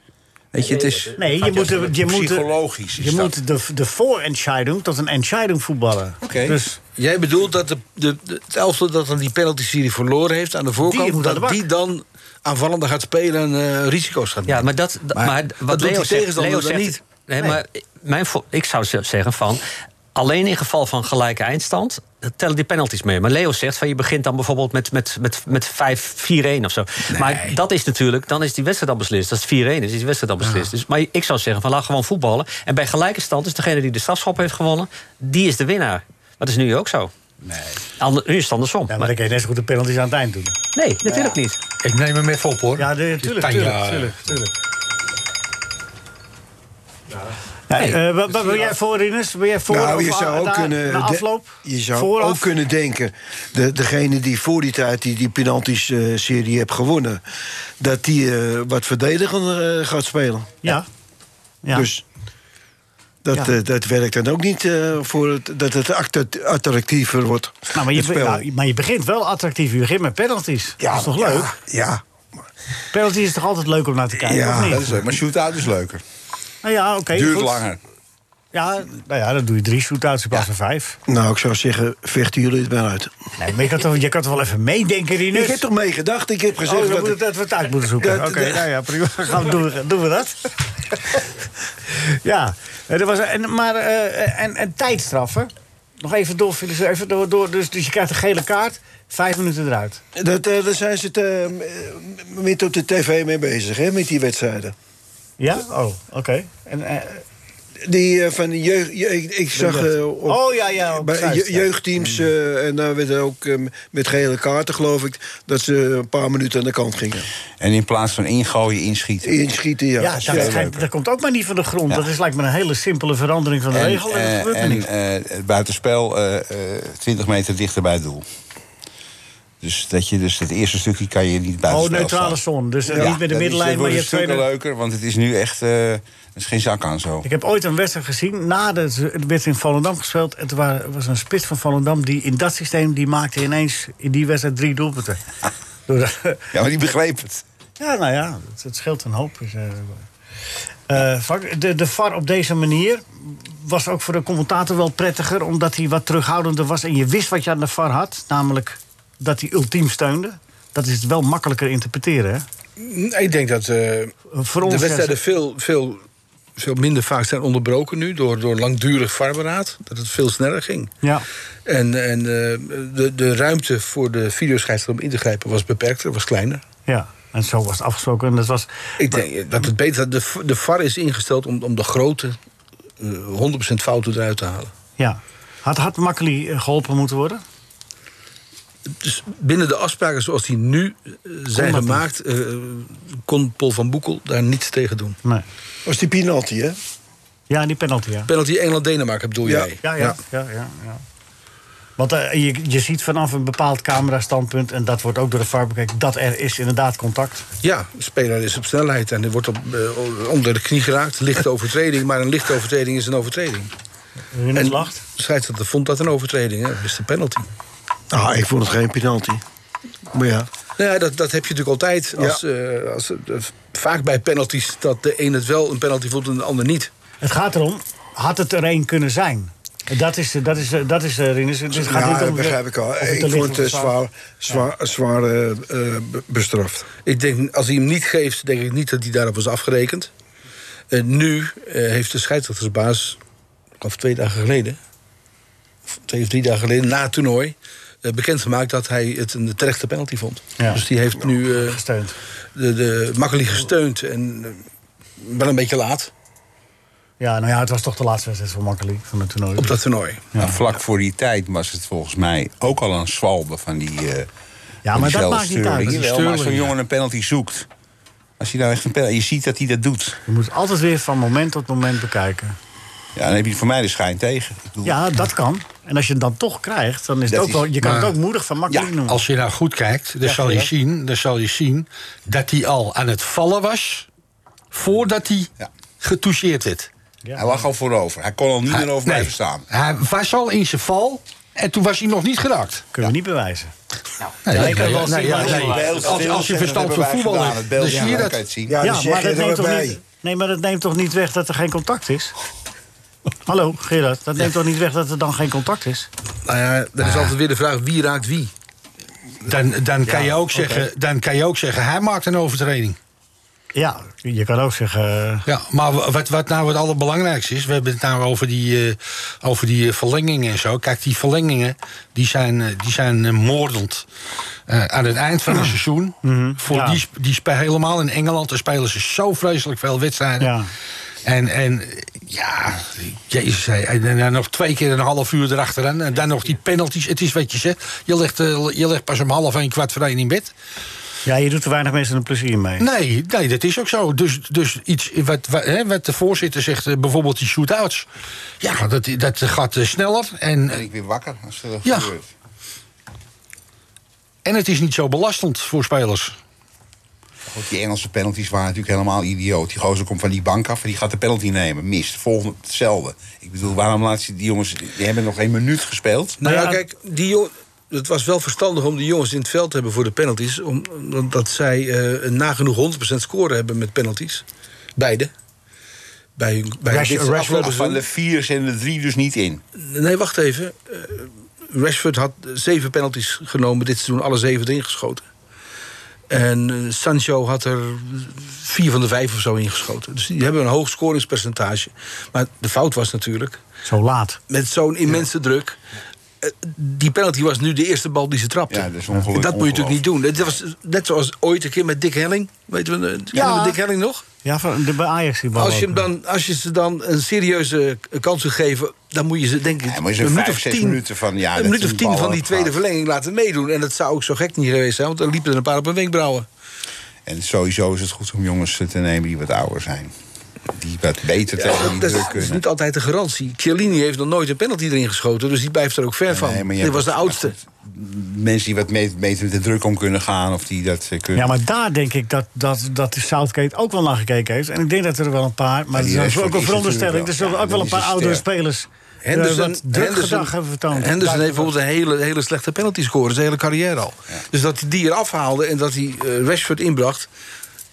A: Weet je, het is.
B: Nee, je moet, de- je moet, de-
A: Psychologisch is
B: je
A: dat.
B: moet de, de voorentscheiding tot een entscheiding voetballen.
A: Oké.
B: Dus
D: Jij bedoelt dat de, de, de- het elftal dat dan die penalties die hij verloren heeft aan de voorkant...
B: moet aan
D: dat
B: de bak.
D: die dan aanvallender gaat spelen en eh, risico's gaat
C: Ja,
D: nemen.
C: maar dat, d- maar,
D: dat
C: wat
D: doet
C: Leo
D: die
C: zegt,
D: tegenstander
C: Leo
D: dan
C: zegt
D: niet.
C: Nee, maar mijn, vo- ik zou ze- zeggen van... alleen in geval van gelijke eindstand tellen die penalties mee. Maar Leo zegt van je begint dan bijvoorbeeld met, met, met, met 5-4-1 of zo. Maar dat is natuurlijk, dan is die wedstrijd al beslist. Als het 4-1 is, is die wedstrijd al beslist. Dus, maar ik zou zeggen van laat gewoon voetballen. En bij gelijke stand is degene die de strafschop heeft gewonnen... die is de winnaar. Dat is nu ook zo. Ander- nu is het andersom.
B: Ja, maar dan kun je net zo goed de penalties aan het eind doen.
C: Nee, natuurlijk niet.
E: Ik neem hem even op hoor.
B: Ja, de, tuurlijk,
E: Tanja.
B: tuurlijk, tuurlijk, tuurlijk. Ja, eh, wat- wat ben jij voor, Rinus? Ben jij voor
F: Nou,
B: of
F: je
B: a-
F: zou
B: na-
F: ook kunnen,
B: na
F: de-
B: afloop?
F: je zou
B: Vooraf?
F: ook kunnen denken... De, degene die voor die tijd die, die penalty-serie heeft gewonnen... dat die eh, wat verdedigender eh, gaat spelen.
B: Ja. ja.
F: Dus dat,
B: Ja.
F: eh, dat werkt dan ook niet eh, voor het, dat het act- attractiever wordt.
B: nou, maar, je,
F: het spel.
B: nou, maar je begint wel attractief. Je begint met penalties.
A: Ja,
B: dat is toch
A: ja.
B: leuk?
A: Ja,
B: Penalties is toch altijd leuk om naar te kijken, of
A: ja
B: niet?
A: dat is leuk. Maar shootout is leuker.
B: Nou ja, oké.
A: Duurt
B: goed.
A: langer.
B: Ja, nou ja, dan doe je drie shootouts in plaats van vijf.
F: Nou, ik zou zeggen, vechten jullie het maar uit.
B: Nee, maar je kan toch, je kan toch wel even meedenken, Rinus?
F: Ik heb toch meegedacht, ik heb gezegd...
B: Dus- Oh, dan
F: wat
B: moet
F: ik-
B: het- dat we het uit moeten zoeken. Oké,
F: Dat- dat-
B: nou ja, prima. Gaan we doen, doen we dat? ja, eh, er was, en, maar eh, en, en tijdstraffen. Nog even door, Felix, even door. door dus, dus je krijgt een gele kaart, vijf minuten eruit.
F: Dat, eh, daar zijn ze het, eh, m- eh, met op de tv mee bezig, hè, met die wedstrijden.
B: Ja? Oh, oké. En, eh,
F: Die eh, van de jeugd... je- ik, ik zag eh, op,
B: oh ja, ja. op
F: bij
B: Zuid,
F: je-
B: ja.
F: jeugdteams... eh, en daar werd ook eh, met gele kaarten, geloof ik... dat ze een paar minuten aan de kant gingen.
A: En in plaats van ingooien, inschieten.
F: Inschieten, ja.
B: Ja, dat,
A: veel
B: schijnt-
A: leuker.
B: dat komt ook maar niet van de grond.
A: Ja.
B: Dat is lijkt me een hele simpele verandering van de
A: En,
B: regel. En dat
A: eh,
B: gebeurt er
A: en,
B: niet.
A: eh, het buitenspel eh, eh, 20 meter dichter bij het doel. Dus dat je dus het eerste stukje kan je niet
B: Oh,
A: buitenspel
B: neutrale
A: slaan.
B: zon. Dus eh,
A: Ja,
B: niet met de
A: dat is-
B: middenlijn,
A: dat
B: maar je
A: wordt
B: hebt
A: een stuk
B: tweede...
A: leuker, want het is nu echt... eh, er is geen zak aan zo.
B: Ik heb ooit een wedstrijd gezien. Na de, het werd in Volendam gespeeld. Het wa- was een spits van Volendam die in dat systeem die maakte ineens in die wedstrijd drie doelpunten. Door de-
A: Ja, maar die begreep het.
B: ja, nou ja, het, het scheelt een hoop. Dus, eh, eh, Frank, de, de VAR op deze manier was ook voor de commentator wel prettiger, omdat hij wat terughoudender was en je wist wat je aan de VAR had, namelijk dat hij ultiem steunde. Dat is wel makkelijker interpreteren. Hè?
D: Ik denk dat eh,
B: Voor ons
D: de
B: ja,
D: wedstrijden veel, veel, veel minder vaak zijn onderbroken nu... door, door langdurig varberaad. Dat het veel sneller ging.
B: Ja,
D: En, en eh, de, de ruimte voor de videoscheidsrechter om in te grijpen was beperkter, was kleiner.
B: ja. En zo was het afgesproken. En dat was,
D: Ik denk dat het beter... De, de VAR is ingesteld om, om de grote eh, 100% fouten eruit te halen.
B: ja. Had, had Makkeli eh, geholpen moeten worden?
D: Dus binnen de afspraken zoals die nu eh, zijn
B: dat niet?
D: gemaakt... eh, kon Paul van Boekel daar niets tegen doen.
B: Nee.
F: was die penalty, hè?
B: Ja, die penalty, ja.
D: Penalty Engeland-Denemarken bedoel
F: Ja.
D: jij?
B: Ja, ja, ja, ja. ja. Want eh, je, je ziet vanaf een bepaald camerastandpunt, en dat wordt ook door de VAR bekeken, dat er is inderdaad contact.
D: Ja, de speler is op snelheid en die wordt op, eh, onder de knie geraakt. Lichte overtreding, maar een lichte overtreding is een overtreding.
B: Rinus
D: En-
B: lacht.
D: De scheidsrechter vond dat een overtreding, hè? dat is de penalty.
F: Nou, ik vond het geen penalty. Maar ja,
D: Nou ja, dat, dat heb je natuurlijk altijd. Als, eh, als, eh, vaak bij penalties dat de een het wel een penalty vond en de ander niet.
B: Het gaat erom, had het er één kunnen zijn? Dat is, dat is, dat is eh, Rinus. Dus het gaat
F: ja
B: niet
F: dat
B: om de-
F: begrijp ik al.
B: of het
F: Ik
B: te licht
F: vond
B: of
F: het
B: te
F: eh, zwaar, zwaar, zwaar eh, eh, be- bestraft.
D: Ik denk, als hij hem niet geeft, denk ik niet dat hij daarop was afgerekend. Eh, nu eh, heeft de scheidsrechtersbaas, of twee dagen geleden, of twee of drie dagen geleden, na het toernooi, eh, bekendgemaakt dat hij het een terechte penalty vond.
B: Ja.
D: Dus die heeft nu eh,
B: Gesteund.
D: de, de Makkeli gesteund en eh, wel een beetje laat
B: Ja, nou ja, het was toch de laatste wedstrijd voor Makkeli van het toernooi.
D: op dat toernooi.
A: Maar vlak voor die tijd was het volgens mij ook al een zwalbe van die... eh,
B: ja,
A: van
B: maar dat
A: die Charles
B: maakt niet
A: Sterling.
B: uit.
A: Jawel, maar als zo'n jongen een penalty zoekt... Als hij nou echt een penalty... Je ziet dat hij dat doet.
B: Je moet altijd weer van moment tot moment bekijken.
A: Ja, dan heb je voor mij de schijn tegen. Ik bedoel,
B: Ja, dat kan. En als je het dan toch krijgt, dan is het
A: Dat
B: ook wel,
A: is-
B: je kan het
E: maar-
B: ook moedig van Makkeli
A: Ja,
B: noemen.
E: Als je nou goed kijkt, dan, zal je zien, dan zal je zien dat hij al aan het vallen was voordat hij
A: Ja.
E: getoucheerd werd.
A: Hij lag al voorover. Hij kon al niet meer over
E: Nee,
A: blijven staan.
E: Hij was al in zijn val en toen was hij nog niet geraakt.
B: Kunnen we niet bewijzen.
E: Nee,
B: ik kan wel
E: nee,
B: zien, maar-
E: ja, nee. Als, als je verstand van voetbal
A: Het
E: hebt, dan
A: beeld
E: Dus zie je dat.
A: kan het zien.
F: Ja,
B: Ja,
F: dus jij
B: maar dat
F: ging er
B: neemt
F: weer
B: toch
F: bij.
B: niet, nee, maar dat neemt toch niet weg dat er geen contact is? Hallo, Gerard. Dat neemt toch niet weg dat er dan geen contact is?
D: Nou ja, dan is altijd weer de vraag wie raakt wie.
E: Dan, dan, kan je ook zeggen, dan kan je ook zeggen, hij maakt een overtreding.
B: Ja, je kan ook zeggen... eh,
E: Ja, maar wa- wat, wat nou het allerbelangrijkste is, we hebben het nou over die, eh, over die eh, verlengingen en zo. Kijk, die verlengingen die zijn, eh, die zijn eh, moordend. Eh, aan het eind van het seizoen, voor
B: ja.
E: die, sp- die spe- helemaal in Engeland, daar spelen ze zo vreselijk veel wedstrijden.
B: Ja.
E: En, en ja, jezus, hij- en, en dan nog twee keer een half uur erachteraan. En dan nog die penalties. Het is wat je zegt. Je legt, eh, je legt pas om half één, kwart voor één in bed.
B: Ja, je doet er weinig mensen een plezier mee.
E: Nee, nee, dat is ook zo. Dus, dus iets wat, wat, hè, wat de voorzitter zegt, eh, bijvoorbeeld die shootouts. Ja, dat, dat gaat eh, sneller. En,
A: Ben ik weer wakker als er dat
E: Ja.
A: gebeurt.
E: en het is niet zo belastend voor spelers.
A: Goed, die Engelse penalties waren natuurlijk helemaal idioot. Die gozer komt van die bank af en die gaat de penalty nemen. Mist. Volgende, hetzelfde. Ik bedoel, waarom laat je die jongens... Die hebben nog geen minuut gespeeld.
D: Nou ja,
B: Maar ja,
D: kijk, die jo- het was wel verstandig om die jongens in het veld te hebben voor de penalties. om- Omdat zij eh, een nagenoeg 100% score hebben met penalties. Beide. Bij, hun- bij
A: Er
D: dit
A: zitten
D: afgelopen
A: afgelopen
D: seizoen.
A: van de vier zijn de drie dus niet in.
D: Nee, wacht even. Eh, Rashford had eh, zeven penalties genomen dit seizoen, alle zeven erin geschoten. En eh, Sancho had er vier van de vijf of zo ingeschoten. Dus die hebben een hoog scoringspercentage. Maar de fout was natuurlijk,
B: Zo laat.
D: met zo'n immense druk... eh, Die penalty was nu de eerste bal die ze trapte.
A: Ja, dat is ongelooflijk.
D: En dat moet je natuurlijk niet
A: Ongelooflijk.
D: doen. Dat was net zoals ooit een keer met Dick Helling. Weten we, eh, kennen we Dick Helling nog?
B: Ja, van de, bij Ajax die bal
D: Als je, hem
B: ook.
D: dan, als je ze dan een serieuze eh, kans wil geven, dan moet je ze denk ik
A: Ja, moet je ze vijf, zes minuten van- ja,
D: een
A: dat
D: minuut
A: is
D: of
A: een
D: tien
A: bal
D: van die
A: ook
D: tweede
A: gaat.
D: verlenging laten meedoen. En dat zou ook zo gek niet geweest zijn, want dan liepen er een paar op hun wenkbrauwen.
A: En sowieso is het goed om jongens eh, te nemen die wat ouder zijn. Die wat beter tegen die
D: dat
A: druk
D: is
A: kunnen.
D: niet altijd de garantie. Chiellini heeft nog nooit een penalty erin geschoten, dus die blijft er ook ver
A: Nee,
D: van.
A: maar je
D: Dit
A: hebt
D: was de
A: ook-
D: oudste.
A: Mensen die wat me- beter met de druk om kunnen gaan. Of die dat eh, kunnen.
B: Ja, maar daar denk ik dat, dat, dat de Southgate ook wel naar gekeken heeft. En ik denk dat er wel een paar, maar
A: die
B: dat is
A: Rashford
B: ook een
A: is
B: veronderstelling.
A: natuurlijk
B: Er
A: wel-
B: zullen
A: ja,
B: ook wel een paar
A: dan is hij
B: oudere
A: sterk.
B: spelers eh,
D: Henderson,
B: wat druk
D: Henderson-
B: gedrag hebben vertoond.
D: Henderson
B: Daar-
D: heeft bijvoorbeeld een hele, hele slechte penalty score zijn hele carrière al. Dus dat hij die eraf haalde en dat hij eh, Rashford inbracht.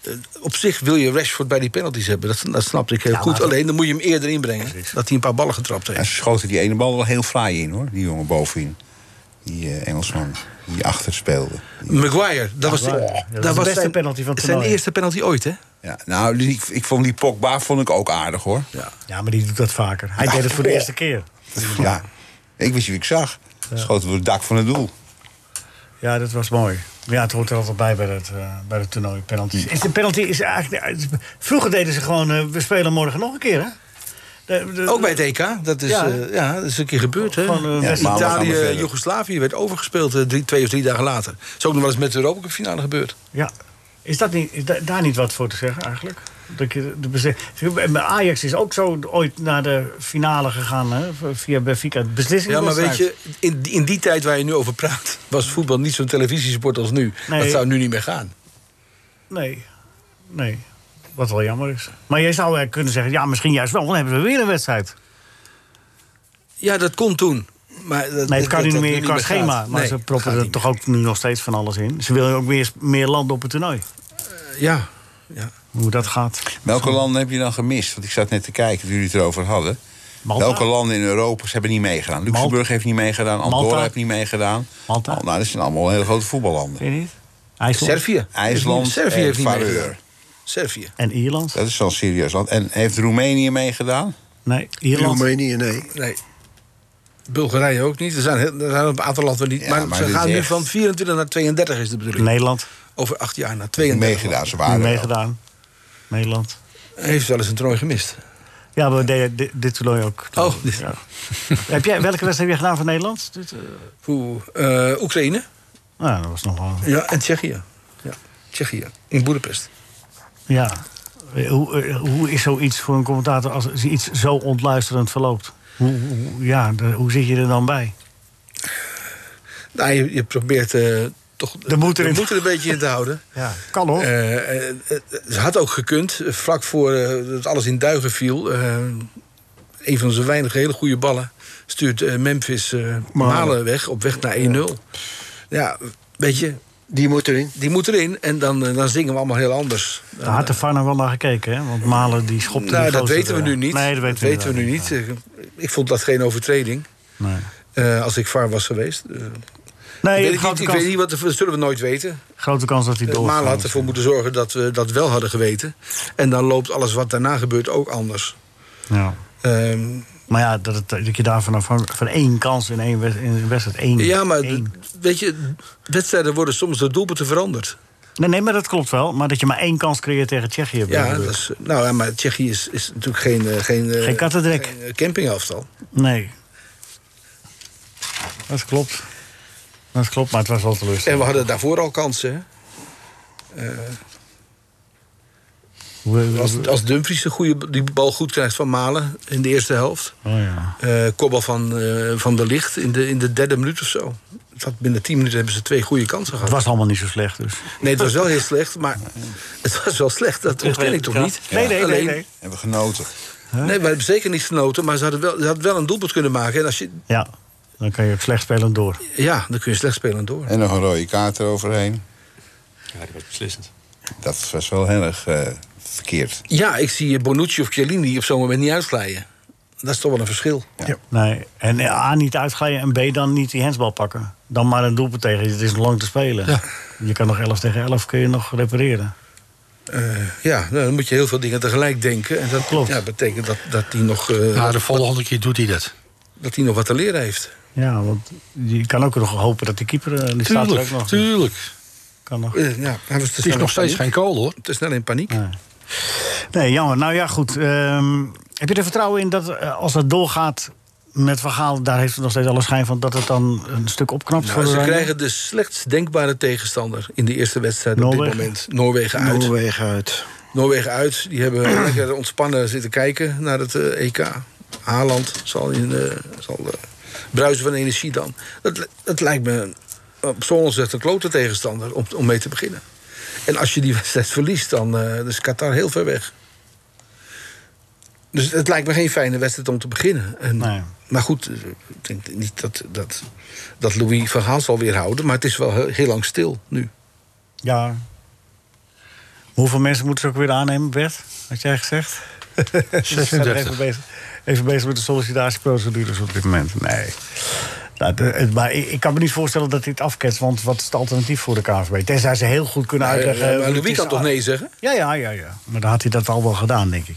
D: eh, op zich wil je Rashford bij die penalties hebben. Dat, dat snapte ik heel goed. Alleen dan moet je hem eerder inbrengen. Dat hij een paar ballen getrapt
A: Ja,
D: heeft.
A: ze schoten die ene bal wel heel fraai in hoor. Die jongen bovenin. Die eh, Engelsman die achter speelde.
D: Maguire, dat was, de-
B: Maguire. Ja, dat is de
D: was
B: beste
D: zijn,
B: penalty van het
D: zijn
B: toernooi.
D: eerste penalty ooit, hè?
A: Ja, nou, die- ik, ik vond die Pogba vond ik ook aardig hoor.
B: Ja, maar die doet dat vaker. Hij deed het voor de eerste keer.
A: Ja. Ik wist wie ik zag. Schoten door het dak van het doel.
B: Ja, dat was mooi. Maar ja, het hoort er altijd bij bij dat, eh, bij dat toernooi. Penalties. Is de penalty is eigenlijk. ja, het- Vroeger deden ze gewoon. eh, we spelen morgen nog een keer, hè? De- de-
D: Ook bij het EK. Dat is,
B: Ja.
D: ja. ja, dat is een keer gebeurd, hè?
B: Gewoon, eh, Ja,
A: maar we gaan weer
D: Italië,
A: verder.
D: Joegoslavië werd overgespeeld eh, drie, twee of drie dagen later. Dat is ook nog wel eens met de Europa Cup finale gebeurd.
B: Ja. Is, dat niet, is da- daar niet wat voor te zeggen eigenlijk? Dat je de beslissing- En Ajax is ook zo ooit naar de finale gegaan hè? v- via Benfica. De Beslissing
D: Ja, maar weet je, in, die- in die tijd waar je nu over praat... was voetbal niet zo'n televisiesport als nu.
B: Nee.
D: Dat zou nu niet meer gaan.
B: Nee, nee. Wat wel jammer is. Maar jij zou eh, kunnen zeggen, ja, misschien juist wel, want dan hebben we weer een wedstrijd.
D: Ja, dat kon toen. Maar dat,
B: Nee, het kan
D: dat-
B: nu niet
D: dat
B: meer
D: nu
B: in qua
D: niet meer
B: schema.
D: gaat.
B: Maar
D: Nee,
B: ze
D: gaat
B: proppen
D: niet
B: er toch ook nu nog steeds van alles in. Ze willen ook meer, meer landen op het toernooi.
D: meer. Ja, ja.
B: Hoe dat gaat.
A: Welke landen heb je dan gemist? Want ik zat net te kijken toen jullie het erover hadden.
B: Malta?
A: Welke landen in Europa ze hebben niet meegedaan? Luxemburg heeft niet meegedaan. Andorra
B: Malta?
A: heeft niet meegedaan.
B: Malta?
A: Al- nou, dat zijn allemaal hele grote voetballanden.
B: Weet je niet? IJsland
D: Servië.
A: IJsland
D: Servië
A: en
D: heeft niet
A: Vareur.
D: meegedaan. Servië.
B: en Ierland.
A: Dat is wel een serieus land. En heeft Roemenië meegedaan?
B: Nee, Ierland.
F: Roemenië, nee.
D: Nee. Bulgarije ook niet. Er zijn, heel- er zijn een aantal landen niet.
A: Ja,
D: maar,
A: maar
D: ze
A: dit is
D: gaan nu
A: echt-
D: van 24 naar 32 is de bedoeling.
B: Nederland.
D: Over acht jaar naar
A: Niet
D: 32.
A: meegedaan, ze
B: Niet
A: waren er.
B: meegedaan. Nederland.
D: Hij Heeft wel eens een toernooi gemist.
B: Ja, maar we deden dit, dit toernooi ook.
D: Oh.
B: Ja. heb jij, welke wedstrijd heb je gedaan voor Nederland? Dit, eh,
D: Oeh, eh, Oekraïne.
B: nou, dat was nog wel...
D: Ja, en Tsjechië. Ja. Tsjechië. In Boedapest.
B: Ja. Eh, Hoe, eh, hoe is zoiets voor een commentator als iets zo ontluisterend verloopt? Hoe, hoe- ja, de- hoe zit je er dan bij?
D: Nou, je, je probeert eh, toch
B: De moed erin.
D: een beetje in te houden.
B: Ja, kan hoor.
D: Eh, eh, eh, het had ook gekund, eh, vlak voor eh, dat alles in duigen viel. eh, een van zijn weinige hele goede ballen stuurt eh, Memphis eh Malen weg, op weg naar 1-0. Ja, weet je,
F: Die moet erin.
D: die moet erin en dan, eh, dan zingen we allemaal heel anders.
B: Daar had de VAR nou wel naar gekeken, hè? Want Malen die schopte
D: nou,
B: die
D: dat
B: gozer
D: weten we
B: er-
D: nu niet.
B: Nee, dat weten,
D: we nu niet.
B: inderdaad
D: Eh, Ik vond dat geen overtreding,
B: Nee,
D: eh, als ik VAR was geweest. Eh,
B: nee
D: weet ik, niet,
B: grote,
D: ik
B: kans,
D: weet niet, wat, dat zullen we nooit weten.
B: grote kans dat hij
D: Eh,
B: doorgaat.
D: Malen had ervoor moeten zorgen dat we dat wel hadden geweten. En dan loopt alles wat daarna gebeurt ook anders.
B: Ja.
D: Ehm,
B: Maar ja, dat, het, dat je daar vanaf van, van één kans in één wed- in een wedstrijd... Één,
D: Ja, maar
B: één.
D: d- weet je, wedstrijden worden soms door doelpunten veranderd.
B: Nee, nee, maar dat klopt wel. Maar dat je maar één kans creëert tegen Tsjechië. bedoel
D: Ja,
B: ik.
D: dat is, nou, ja, maar Tsjechië is, is natuurlijk geen... eh, Geen, eh,
B: Geen kattendrek.
D: geen, eh, campingaftal.
B: Nee. Dat klopt. Dat klopt, maar het was wel
D: En
B: teleurstellend.
D: we hadden daarvoor al kansen. hè.
B: We- we-
D: Als, als Dumfries de goede, die bal goed krijgt van Malen in de eerste helft.
B: Oh ja.
D: eh kobbel van, eh, van de licht in de, in de derde minuut of zo. Het had binnen tien minuten hebben ze twee goede kansen
B: Het
D: gehad.
B: was allemaal niet zo slecht, dus.
D: Nee, het was wel heel slecht, maar het was wel slecht. Dat ontken ik toch niet?
B: Nee, nee, nee.
D: Alleen-
B: nee.
A: Hebben we genoten.
D: Nee, we hebben zeker niet genoten, maar ze hadden wel, ze hadden wel een doelpunt kunnen maken. En als je,
B: Ja, dan kan je ook slecht spelen door.
D: ja, dan kun je slecht spelen door.
A: En nog een rode kaart eroverheen.
J: Ja, die was beslissend.
A: Dat was wel heel erg eh, verkeerd.
D: Ja, ik zie Bonucci of Chiellini op zo'n moment niet uitglijden. Dat is toch wel een verschil.
B: Nee. En eh, A, niet uitglijden en B, dan niet die handsbal pakken. Dan maar een doelpunt tegen. Het is nog lang te spelen. Je kan nog 11 tegen 11 kun je nog repareren.
D: Ja, nou, dan moet je heel veel dingen tegelijk denken. En dat
B: Klopt.
D: Ja, betekent dat, dat, hij nog, eh,
E: Nou, de volgende keer doet hij dat.
D: dat hij nog wat te leren heeft.
B: Ja, want je kan ook nog hopen dat die keeper... eh, Die staat er ook
E: Tuurlijk,
B: nog.
E: tuurlijk.
B: Kan nog.
D: Eh, ja, hij was te
E: Het is
D: snel
E: nog
D: in
E: steeds
D: paniek.
E: geen kool, hoor.
D: Te snel in paniek. Nou,
B: Nee, jammer. Nou ja, goed. Ehm, heb je er vertrouwen in dat eh, als dat doorgaat met verhaal, daar heeft het nog steeds alle schijn van dat het dan een stuk opknapt voor
D: Nou, ze
B: Oranje?
D: krijgen de slechtst denkbare tegenstander in de eerste wedstrijd op dit
B: Noorwegen.
D: moment. Noorwegen uit. Noorwegen,
F: Noorwegen uit.
D: uit. Die hebben lekker ontspannen zitten kijken naar het eh, EK. Haaland zal, in, eh, zal eh, bruisen van energie dan. Dat, li- dat lijkt me een- op zo'n zegt een klote tegenstander om, om mee te beginnen. En als je die wedstrijd verliest, dan eh, is Qatar heel ver weg. Dus het lijkt me geen fijne wedstrijd om te beginnen. En
B: Nee.
D: maar goed, eh, ik denk niet dat, dat, dat Louis van Gaal zal weerhouden. Maar het is wel he- heel lang stil nu.
B: Ja. Hoeveel mensen moeten ze ook weer aannemen, Bert? Had jij gezegd? Ze zijn
E: 36.
B: er Even bezig, even bezig met de sollicitatieprocedures op dit moment. Nee. Nou, de- het- maar ik, ik kan me niet voorstellen dat dit afketst. Want wat is het alternatief voor de KNVB? Tenzij ze heel goed kunnen uitleggen...
D: Eh,
B: hoe
D: maar
B: het
D: Louis
B: is
D: kan toch
B: aan-
D: nee zeggen?
B: Ja, ja, ja, ja. Maar dan had hij dat al wel gedaan, denk ik.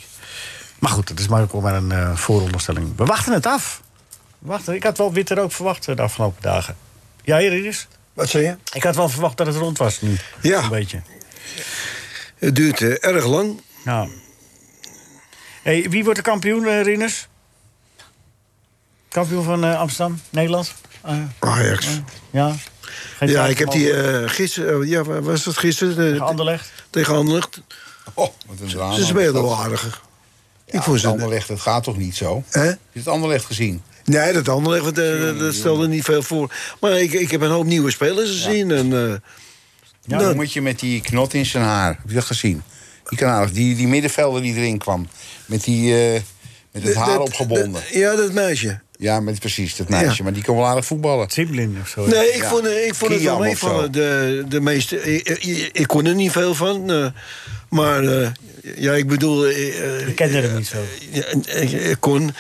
B: Maar goed, dat is maar ook wel maar een eh, vooronderstelling. We wachten het af. We wachten. Ik had wel witter ook verwacht eh, de afgelopen dagen. Ja, Iris?
F: Wat zei je?
B: Ik had wel verwacht dat het rond was nu.
F: Ja.
B: Een beetje.
F: Het duurt eh, erg lang.
B: Ja. Hey, wie wordt de kampioen, eh Rinus? Kampioen van eh, Amsterdam, Nederland? Eh,
F: Ajax.
B: ja. Geen
F: Ja,
B: twijfel
F: ik heb
B: over.
F: die eh gisteren... eh, ja, waar was dat gisteren?
B: Tegen
F: Eh,
B: Anderlecht.
F: tegen Anderlecht.
A: Oh, wat een drama.
F: Ze spelen wel aardig.
A: ik
F: ik vond ze...
A: Anderlecht, dat gaat toch niet zo? Heb
F: Hè?
A: je het Anderlecht gezien?
F: Nee, dat Anderlecht, want, eh, dat stelde niet veel voor. Maar ik, ik heb een hoop nieuwe spelers gezien. En, eh,
A: Ja,
F: dat-
A: dan moet je met die knot in zijn haar. Heb je dat gezien? Die kanalig, die, die middenvelder die erin kwam. Met, die, eh, met het haar
F: dat-
A: opgebonden.
F: dat- ja, dat meisje.
A: Ja, met, precies, dat meisje.
F: Ja.
A: Maar die kan wel aardig voetballen.
B: Zimblin of zo.
F: Nee, ik
A: Ja.
F: vond, eh, ik vond het wel
A: Kiam of
F: meevallen.
A: zo.
F: De, de meeste, ik, ik- ik kon er niet veel van. eh, maar eh, ja, ik bedoel... eh, eh,
B: Ik kende hem niet zo.
F: Ja, en- en- ik kon.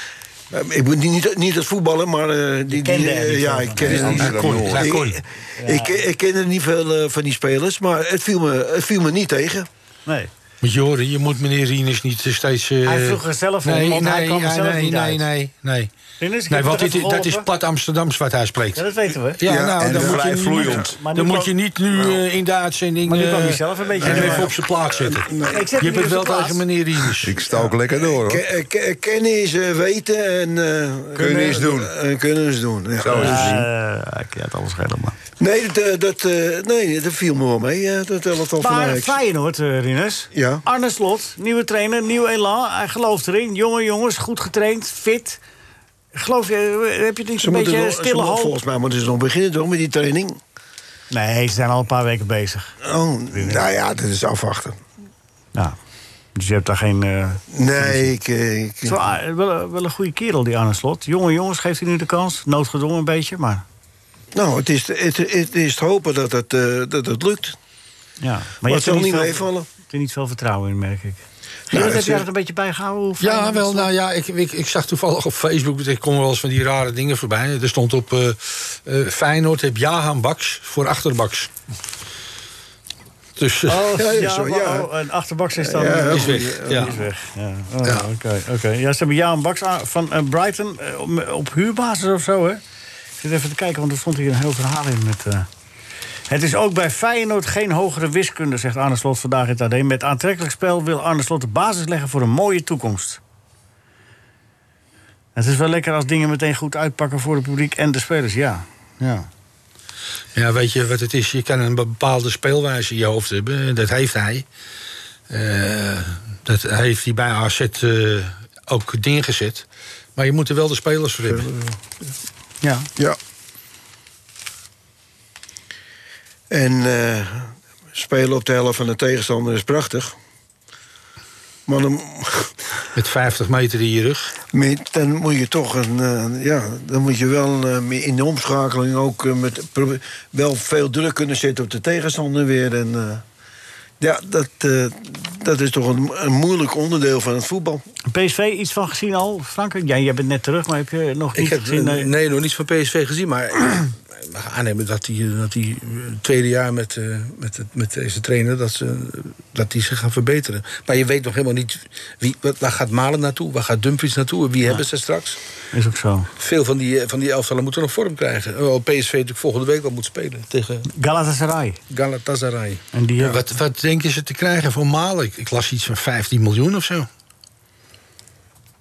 F: eh, Ik moet niet, niet het voetballen, maar eh, die,
B: kende
F: die,
B: er
F: eh,
B: niet
F: ja,
B: van.
F: ik ken
A: Nee,
F: er niet
A: Amsterdam
F: kon.
A: Noord.
F: Ik, ik, ik ken er niet veel eh, van die spelers, maar het viel me, het viel me niet tegen.
B: Nee.
E: Moet je horen, je moet meneer Rieners niet eh, steeds... eh,
B: Hij vroeg er zelf om,
E: nee,
B: want hij
E: nee,
B: kwam er
E: ja,
B: zelf
E: nee,
B: niet
E: nee,
B: uit.
E: Nee, nee,
B: Rinus, ik
E: nee.
B: heb
E: Want
B: het
E: dit,
B: even
E: dat is
B: geholpen.
E: plat Amsterdams wat hij spreekt.
B: Ja, dat weten we.
E: Ja, nou,
A: en
E: dan moet
A: vrij
E: je niet-
A: vloeiend.
B: Maar nu
E: dan moet
B: kwam-
E: je niet nu eh, in de uitzending...
B: Maar nu kwam
E: eh,
B: hij zelf een beetje
E: en
B: in de
E: even
B: war.
E: op zijn plaat zitten.
B: Ik zet
E: Je
B: hem
E: hebt
B: hier
E: het
B: op
E: wel
B: zijn plaats.
E: tegen meneer Rieners.
A: Ik sta ook lekker door, hoor.
F: Ke- eh, ke- eh, Kennen is eh, weten en... eh,
A: Kunnen is doen.
F: eh, kunnen is doen, ja.
A: Zo is het.
B: Eh, ik kan het alles schelen, maar...
F: Nee, dat, eh, dat, eh, nee, dat viel me wel mee, eh, dat elftal van
B: Maar
F: Ajax.
B: Feyenoord, eh, Rinus.
F: Ja.
B: Arne Slot, nieuwe trainer, nieuw elan. Hij gelooft erin. Jonge jongens, goed getraind, fit. Geloof je, eh, heb je niet
F: Ze
B: een
F: moeten
B: beetje
F: nog- ze
B: stille
F: moeten-
B: hoop?
F: Volgens mij moeten ze nog beginnen, toch, met die training?
B: Nee, ze zijn al een paar weken bezig.
F: Oh, nou ja, dat is afwachten.
B: Ja. Dus je hebt daar geen... eh,
F: Nee, ik... eh, ik-
B: zo, ah, wel, een- wel een goede kerel, die Arne Slot. Jonge jongens geeft hij nu de kans. Noodgedwongen een beetje, maar...
F: Nou, het is, het, het is te hopen dat het, eh, dat het lukt.
B: Ja. Maar,
F: Maar het
B: hebt er
F: zal niet
B: veel-
F: meevallen.
B: Je hebt er niet veel vertrouwen in, merk ik. Rinus,
F: Nou,
B: heb
F: het
B: jij
F: is-
B: dat een beetje bijgehouden? hoe
E: Ja,
B: Feyenoord
E: wel,
B: stond?
E: nou ja, ik, ik, ik zag toevallig op Facebook... er komen wel eens van die rare dingen voorbij. Er stond op eh eh, Feyenoord heb Jahan Baks voor achterbaks. Dus... eh,
B: Oh, ja,
F: Ja, ja, zo, ja.
B: oh, een achterbaks is dan...
F: Ja,
E: is weg. Ja.
B: Die is weg. Ja, Oh, ja, oké. oké. Ja, ze hebben Jaan Baks aan- van eh, Brighton eh, op, op huurbasis of zo, hè? Ik zit even te kijken, want er stond hier een heel verhaal in met... eh, Het is ook bij Feyenoord geen hogere wiskunde, zegt Arne Slot vandaag in het AD. Met aantrekkelijk spel wil Arne Slot de basis leggen voor een mooie toekomst. Het is wel lekker als dingen meteen goed uitpakken voor het publiek en de spelers, ja. ja.
E: Ja, weet je wat het is? Je kan een bepaalde speelwijze in je hoofd hebben. En Dat heeft hij. Eh, dat heeft hij bij AZ eh, ook neergezet. Maar je moet er wel de spelers voor hebben.
B: Ja.
F: Ja. En eh, spelen op de helft van de tegenstander is prachtig. Maar dan,
E: Met 50 meter in je rug.
F: maar dan moet je toch een, eh, ja, dan moet je wel eh, meer in de omschakeling ook eh, met, probe- wel veel druk kunnen zetten op de tegenstander weer. En, eh, ja, dat, eh, dat is toch een, een moeilijk onderdeel van het voetbal.
B: PSV, iets van gezien al, Frank? Ja, jij bent net terug, maar heb je nog
D: Ik
B: niet
D: heb
B: gezien?
D: eh,
B: Nee.
D: nee, nog niets van PSV gezien, maar we gaan aannemen dat die, dat die eh, tweede jaar met, eh, met, het- met deze trainer dat, ze, eh, dat die zich gaan verbeteren. Maar je weet nog helemaal niet wie, wat, waar gaat Malen naartoe, waar gaat Dumfries naartoe, en wie hebben ze straks.
B: Is ook zo.
D: Veel van die, eh, van die elftallen moeten nog vorm krijgen. Oh, Hoewel PSV natuurlijk volgende week al moet spelen tegen
B: Galatasaray.
D: Galatasaray.
B: En die, eh,
E: Wat, wat denken ze te krijgen voor Malen? Ik, ik las iets van 15 miljoen of zo.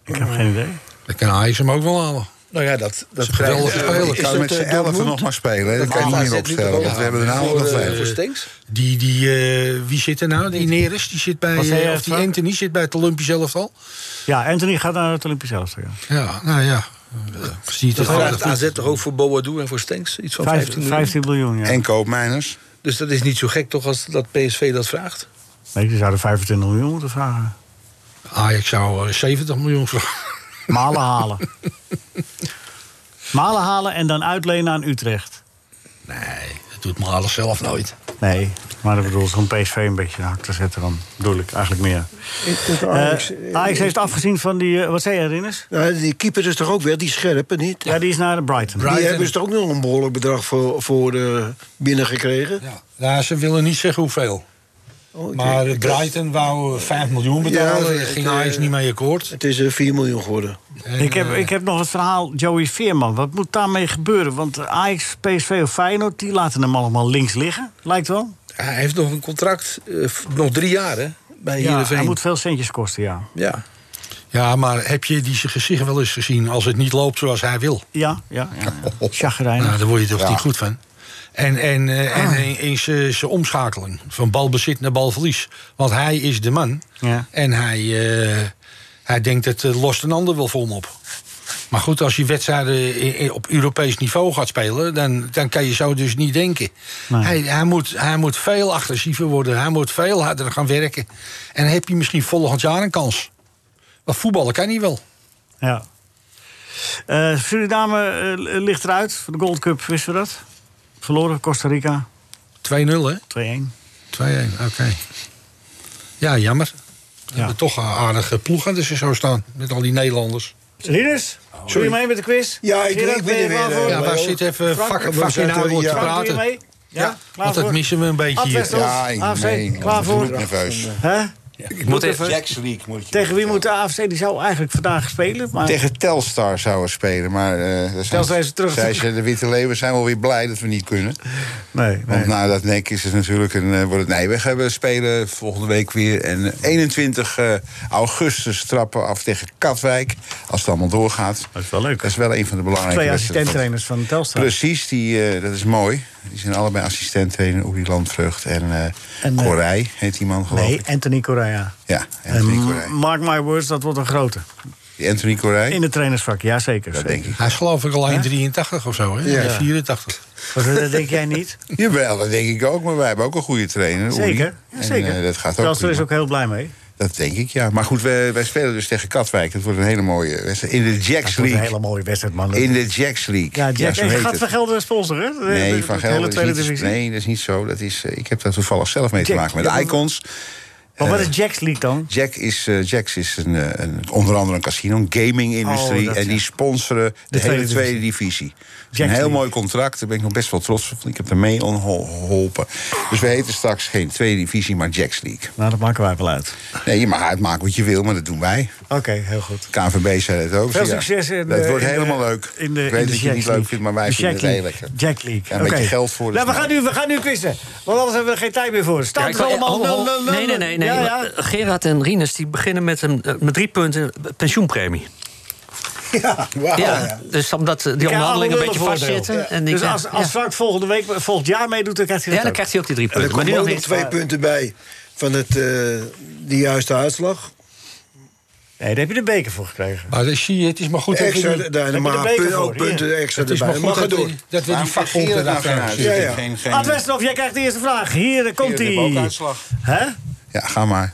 B: ik heb geen idee.
E: Dan kan Ajax hem ook wel halen.
D: Nou ja, dat, dat
E: een geweldige speler.
A: Ik zou met z'n
D: eh,
F: eh,
A: elfen nog maar spelen. hè. Dat
D: Dat
A: kan je
D: AZ
A: niet
D: nu
A: meer opstellen.
D: toch
A: Want we hebben er nou
D: voor,
A: nog
D: eh,
A: vijf.
D: voor Stenks.
E: Die, die, eh, wie zit er nou? Die Neres, die zit bij,
B: Wat zei
E: eh,
B: je,
E: of die
B: Frank?
E: Anthony zit bij het Olympisch elftal.
B: Ja, Anthony gaat naar het Olympisch elftal. ja.
E: Ja, nou ja. Zie je
D: Dat
E: toch wel.
D: vraagt AZ toch ook voor Boadu en voor Stenks? Iets van 15
B: Vijf-
D: miljoen.
B: 15 miljoen, ja.
A: En koopmijners.
D: Dus dat is niet zo gek toch als dat PSV dat vraagt?
B: Nee, ze zouden 25 miljoen moeten vragen.
E: Ajax zou eh, 70 miljoen vragen.
B: Malen halen. Malen halen en dan uitlenen aan Utrecht.
E: Nee, dat doet Malen zelf nooit.
B: Nee, maar dat bedoel zo'n PSV een beetje naar te zetten. Dan bedoel ik eigenlijk meer. Eh, Ajax, heeft afgezien van die... eh, wat zei je, Rinus?
F: Nou, die keeper is toch ook wel, die scherpe, niet?
B: Ja, die is naar Brighton.
F: Die
E: Brighton.
F: hebben ze toch ook nog een behoorlijk bedrag voor, voor eh, binnengekregen.
I: Ja.
E: Nou, ze willen niet zeggen hoeveel.
F: Oh, ik-
I: Maar eh,
F: ik-
I: Brighton wou eh, 5 miljoen
F: Ja,
I: betalen.
F: dat-
E: Daar ging Ajax niet mee akkoord.
F: Het is eh, 4 miljoen geworden.
E: En,
B: Ik heb,
E: eh,
B: ik heb nog het verhaal Joey Veerman. Wat moet daarmee gebeuren? Want Ajax, PSV of Feyenoord, die laten hem allemaal links liggen. Lijkt wel.
D: Hij heeft nog een contract, eh, f- nog drie jaar hè, bij
B: Ja,
D: Heerenveen.
B: hij moet veel centjes kosten, ja.
D: Ja.
E: Ja, maar heb je die zijn gezicht wel eens gezien als het niet loopt zoals hij wil?
B: Ja, ja. ja. Ah. Chagrijnig.
E: Nou, daar word je toch niet goed van. En, en, eh, en in- in zijn zijn omschakeling. Van balbezit naar balverlies. Want hij is de man.
B: Ja.
E: En hij, eh, hij denkt het eh, lost een ander wel voor hem op. Maar goed, als je wedstrijden i- i- op Europees niveau gaat spelen... dan, dan kan je zo dus niet denken.
B: Nee.
E: Hij, hij, moet, hij moet veel agressiever worden. Hij moet veel harder gaan werken. En dan heb je misschien volgend jaar een kans. Maar voetballen kan hij wel.
B: Ja. Eh, Suriname eh, ligt eruit. Voor de Gold Cup wisten we dat. Verloren, Costa Rica,
E: 2-0, hè?
B: 2-1.
E: 2-1, oké. Ja, jammer. We hebben toch een aardige ploeg aan dat ze zo staan. Met al die Nederlanders.
B: Rinus, doe je mee met de quiz?
F: Oh, Ja, ik-
B: Gerard,
F: ik ben er
B: klaar
F: weer,
B: voor?
F: eh,
E: Ja,
F: maar
E: waar
F: joh,
E: zit even
B: Frank,
E: vak,
F: we
E: vak
F: zaten-
E: inhoud wordt
F: ja.
E: te
F: Frank,
B: Frank, doe je
E: praten?
B: mee? Ja, klaar
E: Want dat
B: voor?
E: missen we een beetje
B: Ad
E: hier.
B: Westhoff,
A: Ja, ik-
B: AFC,
A: nee,
B: klaar
A: ik
B: voor?
A: word nerveus.
B: Hè?
C: Ik moet even,
A: Jacks League moet je.
B: Tegen wie moet de AFC? Die zou eigenlijk vandaag spelen. Maar
A: Tegen Telstar zouden we spelen, maar... eh daar
B: Telstar is terug.
A: Zij ze, de Witte Leeuwen zijn wel weer blij dat we niet kunnen.
B: nee,
A: Want na dat nek is het natuurlijk een... eh, wordt het Nijweg hebben we spelen volgende week weer. En eh, 21 eh, augustus trappen af tegen Katwijk. Als het allemaal doorgaat.
B: Dat is wel leuk.
A: Dat is wel een van de belangrijke
B: Twee
A: wedstrijden.
B: assistenttrainers van Telstra.
A: Precies, die, eh, dat is mooi. Die zijn allebei assistent-trainer. Oerie Landvreugd en, eh
B: En, eh,
A: Corij heet die man geloof
B: Nee, Ehm,
A: ik.
B: Anthony Correa.
A: Ja,
B: En
A: Anthony Corij.
B: Mark my words, dat wordt een grote.
A: Die Anthony Corij,
B: In het trainersvak, ja zeker.
A: dat
B: zeker.
A: denk ik.
E: Hij is geloof ik al 1,83 of zo, hè? Nee, 84.
B: Wat, dat denk jij niet?
A: Jawel, dat denk ik ook. Maar wij hebben ook een goede trainer. Oerie.
B: Zeker. Ja,
A: En,
B: zeker.
A: eh, dat gaat ook,
B: Telstra is
A: prima.
B: ook heel blij mee.
A: Dat denk ik, ja. Maar goed, wij, wij spelen dus tegen Katwijk. Dat wordt een hele mooie wedstrijd. In de Jacks
B: Dat wordt een
A: League.
B: hele mooie wedstrijd, man.
A: In de Jacks League.
B: ja, Jack,
A: zo
B: en
A: heet
B: gaat
A: het.
B: Van Gelder een sponsor, hè? De- de-
A: Nee,
B: de-
A: Van
B: de hele
A: Gelder
B: tweede
A: is niet,
B: divisie.
A: nee, dat is niet zo. Dat is, eh, ik heb daar toevallig zelf mee te
B: Jack,
A: maken met
B: ja,
A: de Icons.
B: Maar wat
A: Eh,
B: is Jack's League dan?
A: Jack is, eh, Jacks is een, eh, een- onder andere een casino, een gaming-industrie.
B: Oh, dat,
A: en die
B: ja.
A: sponsoren
B: De
A: de, hele
B: tweede
A: tweede divisie. Het is een
B: Jack's League.
A: heel mooi contract, daar ben ik nog best wel trots op. want Ik heb er mee on- geholpen. Dus we heten straks geen tweede divisie, maar Jacks League.
B: Nou, dat maken wij wel uit.
A: Nee, je mag uitmaken wat je wil, maar dat doen wij.
B: Oké, heel goed.
A: KNVB zei het ook. Dus
B: Veel
A: Ja,
B: succes. In,
A: Dat
B: eh,
A: wordt
B: in de-
A: helemaal leuk.
B: In de,
A: ik
B: in
A: weet
B: de
A: dat je het
B: Jack's
A: niet leuk
B: League.
A: vindt, maar wij
B: De
A: vinden
B: Jack
A: het heel
B: League.
A: lekker.
B: Jack League.
A: Ja, een beetje
B: oké.
A: geld voor is
B: Nou, we,
A: mooi.
B: gaan nu, we gaan nu quizzen. Want anders hebben we er geen tijd meer voor.
C: Ja,
B: Stand
C: ik oh,
B: is
C: wil-
B: allemaal
C: ho, ho,
B: 0
C: Nee, nee, nee. nee.
B: Ja, ja.
C: Gerard en Rinus die beginnen met, een, eh, met drie punten eh, pensioenpremie.
I: Ja, wauw.
C: ja, Dus omdat eh, die onderhandelingen een beetje vastzitten. En die-
B: dus
C: ja,
B: als,
C: ja.
B: als Frank volgende week, volgend jaar meedoet, dan krijgt hij
C: Ja,
B: dat
C: dan
B: ook.
C: krijgt hij ook Oh, die drie
F: En er
C: punten. Maar nu
F: komen
C: nog
F: ook nog
C: niet.
F: twee punten bij van het, eh de juiste uitslag.
B: Nee, daar heb je de beker voor gekregen.
E: Maar dat zie je, het is maar goed dat we
F: Extra,
E: die-
F: daar,
B: je
F: maar
B: de beker
F: pun-
B: voor,
F: ook
A: oh,
B: hier.
F: punten extra
E: het is maar
F: erbij.
E: goed
F: Mag
E: dat
F: het
E: we
F: door.
E: die- dat we
A: Maar
E: die
A: fageer
E: vakbonden
A: het nou
E: daar
A: geen
E: gaan
A: uit.
E: zitten.
F: Ja, ja.
A: Geen, geen,
B: Ad Westerhof, jij krijgt de eerste vraag. Hier, daar komt
A: Ik heb ook
B: hij.
A: uitslag.
B: Hè?
A: Ja, ga maar.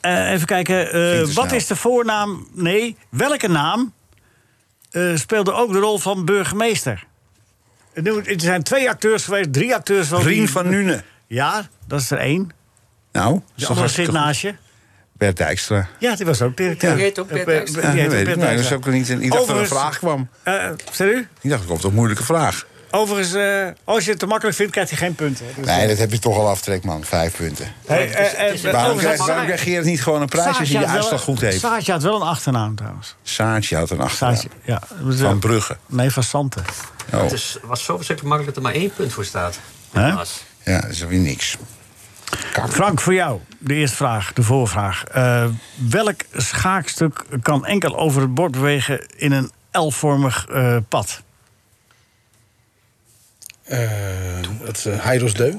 B: Eh, even kijken. eh,
A: Ging te
B: wat
A: snel.
B: is de voornaam? Nee, welke naam eh, speelde ook de rol van burgemeester? Het noemt- Er zijn twee acteurs geweest, drie acteurs. wel die-
A: Rien van Nuenen.
B: Ja, dat is er één.
A: Nou,
B: De
A: dat
B: andere zit naast je.
A: Bert Dijkstra.
B: Ja, die was ook directeur.
A: Ja.
B: Die
A: Die
B: heet
C: heet ook Bert Dijkstra.
A: Ja, dat weet ik. Nee, dat is
B: Dijkstra.
A: ook niet. Ik dacht dat er een
B: Overigens-
A: vraag kwam.
B: Eh, zeg u?
A: Ik dacht, er komt een moeilijke vraag.
B: Overigens, eh, als je het te makkelijk vindt, krijgt hij geen punten. hè. Dus-
A: Nee, dat heb je toch al aftrek, man. Vijf punten.
B: Hey, eh, eh,
A: Waarom
B: overigens-
A: krijgt waarom krijgt Gerard niet gewoon een prijs als
B: Saartje
A: je de
B: had wel-
A: uitslag goed heeft?
B: Saartje had wel een achternaam trouwens.
A: Saartje had een
B: Saartje,
A: achternaam.
B: ja.
A: Van Brugge.
B: Nee, van Santen.
A: Oh,
C: Het is, was zo verschrikkelijk makkelijk dat er maar één punt voor staat.
B: Hè?
C: Helaas.
A: ja, dat is weer niks.
B: Frank, voor jou de eerste vraag, de voorvraag. Eh, welk schaakstuk kan enkel over het bord bewegen in een L-vormig eh, pad?
D: Eh, het uh, Heiros Deu.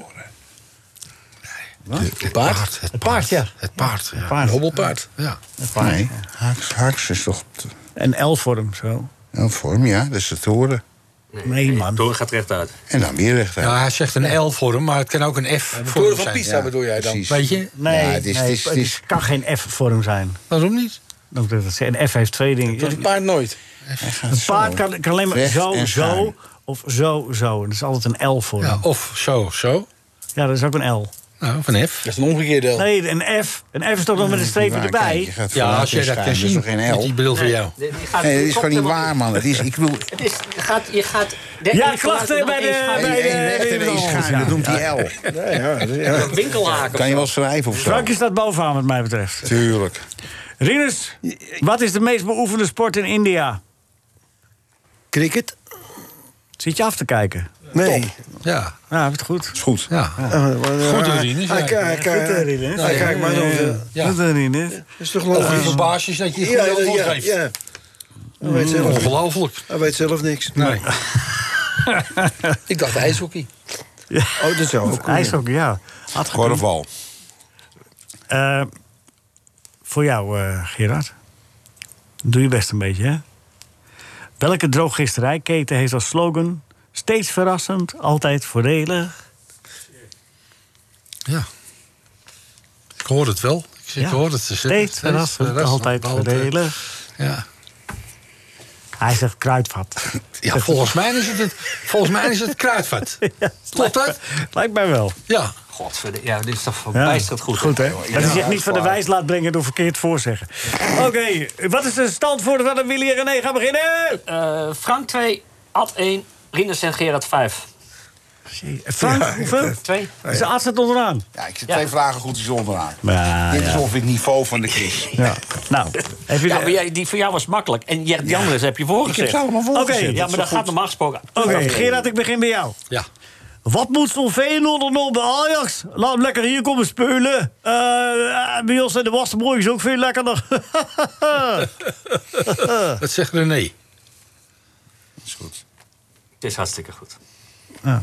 E: Het
D: paard?
E: Het
B: paard, ja.
E: Het paard, ja.
B: paard.
D: Een hobbelpaard.
E: Ja.
A: Nee, haaks, haaks is toch
B: Een L-vorm, zo.
A: een vorm, ja. Dat is het horen.
B: Nee, man.
C: Door gaat rechtuit.
A: En dan weer rechtuit.
E: Nou, hij zegt een L voor hem, maar het kan ook een F
D: De
E: voor
D: toren
E: hem
D: van
E: zijn.
D: Pisa bedoel jij dan?
A: Precies.
E: Weet je?
B: Nee,
A: Ja, het is-
B: nee,
A: het is-
B: het is- kan geen F-vorm zijn.
E: Waarom niet?
B: Dat moet ik dat zeggen. Een F heeft twee dingen.
D: Een paard nooit.
B: Een paard kan, kan alleen maar
A: Recht
B: zo,
A: en schuin.
B: zo of zo, zo. Dat is altijd een L-vorm.
E: Ja,
B: Ja.
E: of zo, zo.
B: dat is ook een L.
E: Nou, of een F.
D: Dat is een omgekeerde L.
B: Nee, een F. Een F is toch nog met een streepje
A: Waar, kijk, je
B: erbij?
A: gaat
E: Ja,
A: vooruit
E: als jij
A: en
E: dat
A: schuin,
E: kan
A: dat is
E: zien.
A: toch geen
E: Met die
A: L?
E: bril voor jou.
A: Nee, dat is gewoon niet waar, man. Het is, ik bedoel,
C: Het is, je gaat, je gaat
B: Ja, klachten bij de...
A: één
B: Bij
A: recht en één
B: de
A: schuin, dat noemt die L.
C: winkelhaken.
A: Kan je wel schrijven of zo?
B: Frank is dat bovenaan, wat mij betreft.
A: Tuurlijk.
B: Rinus, wat is de meest beoefende sport in India?
F: Cricket?
B: Zit je af te kijken?
F: Nee. Ah, eh,
E: Ja,
B: Ja, heb het goed.
A: Is goed.
E: ja.
F: Goed, eh,
E: Rinus, ja.
F: ah,
B: Eh, Rinus.
F: Hij kijkt maar over.
E: eh, Ja.
B: eh, Goed, Rinus.
F: Oh, Dat is toch
E: Of je
F: logisch?
E: verbaasd is dat je het
F: Ja,
E: goede antwoord
F: ja,
E: geeft.
F: ja. Hij weet zelf-
E: Ongelooflijk.
F: Hij weet zelf niks.
E: Nee.
D: Ik dacht ijshockey.
F: Oh, dat is ook.
B: IJshockey, ja. Had gekund.
A: Korfbal.
B: Eh, voor jou, eh, Gerard. Doe je best een beetje, hè? Welke drooggisterijketen heeft als slogan... steeds verrassend, altijd voordelig?
E: Ja. Ik hoor het wel. Ik, zeg, ik hoor het. Ze zeggen
B: steeds verrassend, altijd
E: eh,
B: voordelig.
E: Ja.
B: Hij zegt kruidvat.
E: ja, volgens mij is het, het, volgens mij is het kruidvat. Klopt dat?
B: Lijkt mij wel.
E: Ja.
C: Godverdomme. Ja, dit is toch
B: Ja.
C: verbijsterend goed.
B: Goed, hè? dat is zich niet van de
A: uitvaart.
B: wijs laat brengen door verkeerd voorzeggen. Oké, wat is de stand voor de Willy en René gaan beginnen?
C: Eh, Frank 2, Ad 1, Rinus en Gerard 5.
B: Frank, hoeveel?
C: 2.
B: Ze Ad staat onderaan.
A: Ja, ik zit twee vragen goed is onderaan.
B: Ja,
A: Dit is
B: Ah, ja.
A: ongeveer het niveau van de quiz.
B: Ja. Nou, even...
C: Ja, maar jij, die voor jou was makkelijk. En jij- die andere heb je voorgezegd.
A: Ik heb ze allemaal
B: Oké,
A: volgens.
B: ja,
C: ja, maar dat gaat normaal gesproken.
B: Oké, Gerard, ik begin bij jou.
E: Ja.
B: Wat moet zo'n Feyenoord nog bij Ajax? Laat hem lekker hier komen spelen. Eh, eh, bij ons zijn de wassenbroek is ook veel lekkerder.
E: Dat zegt René.
A: Is goed.
C: Het is hartstikke goed.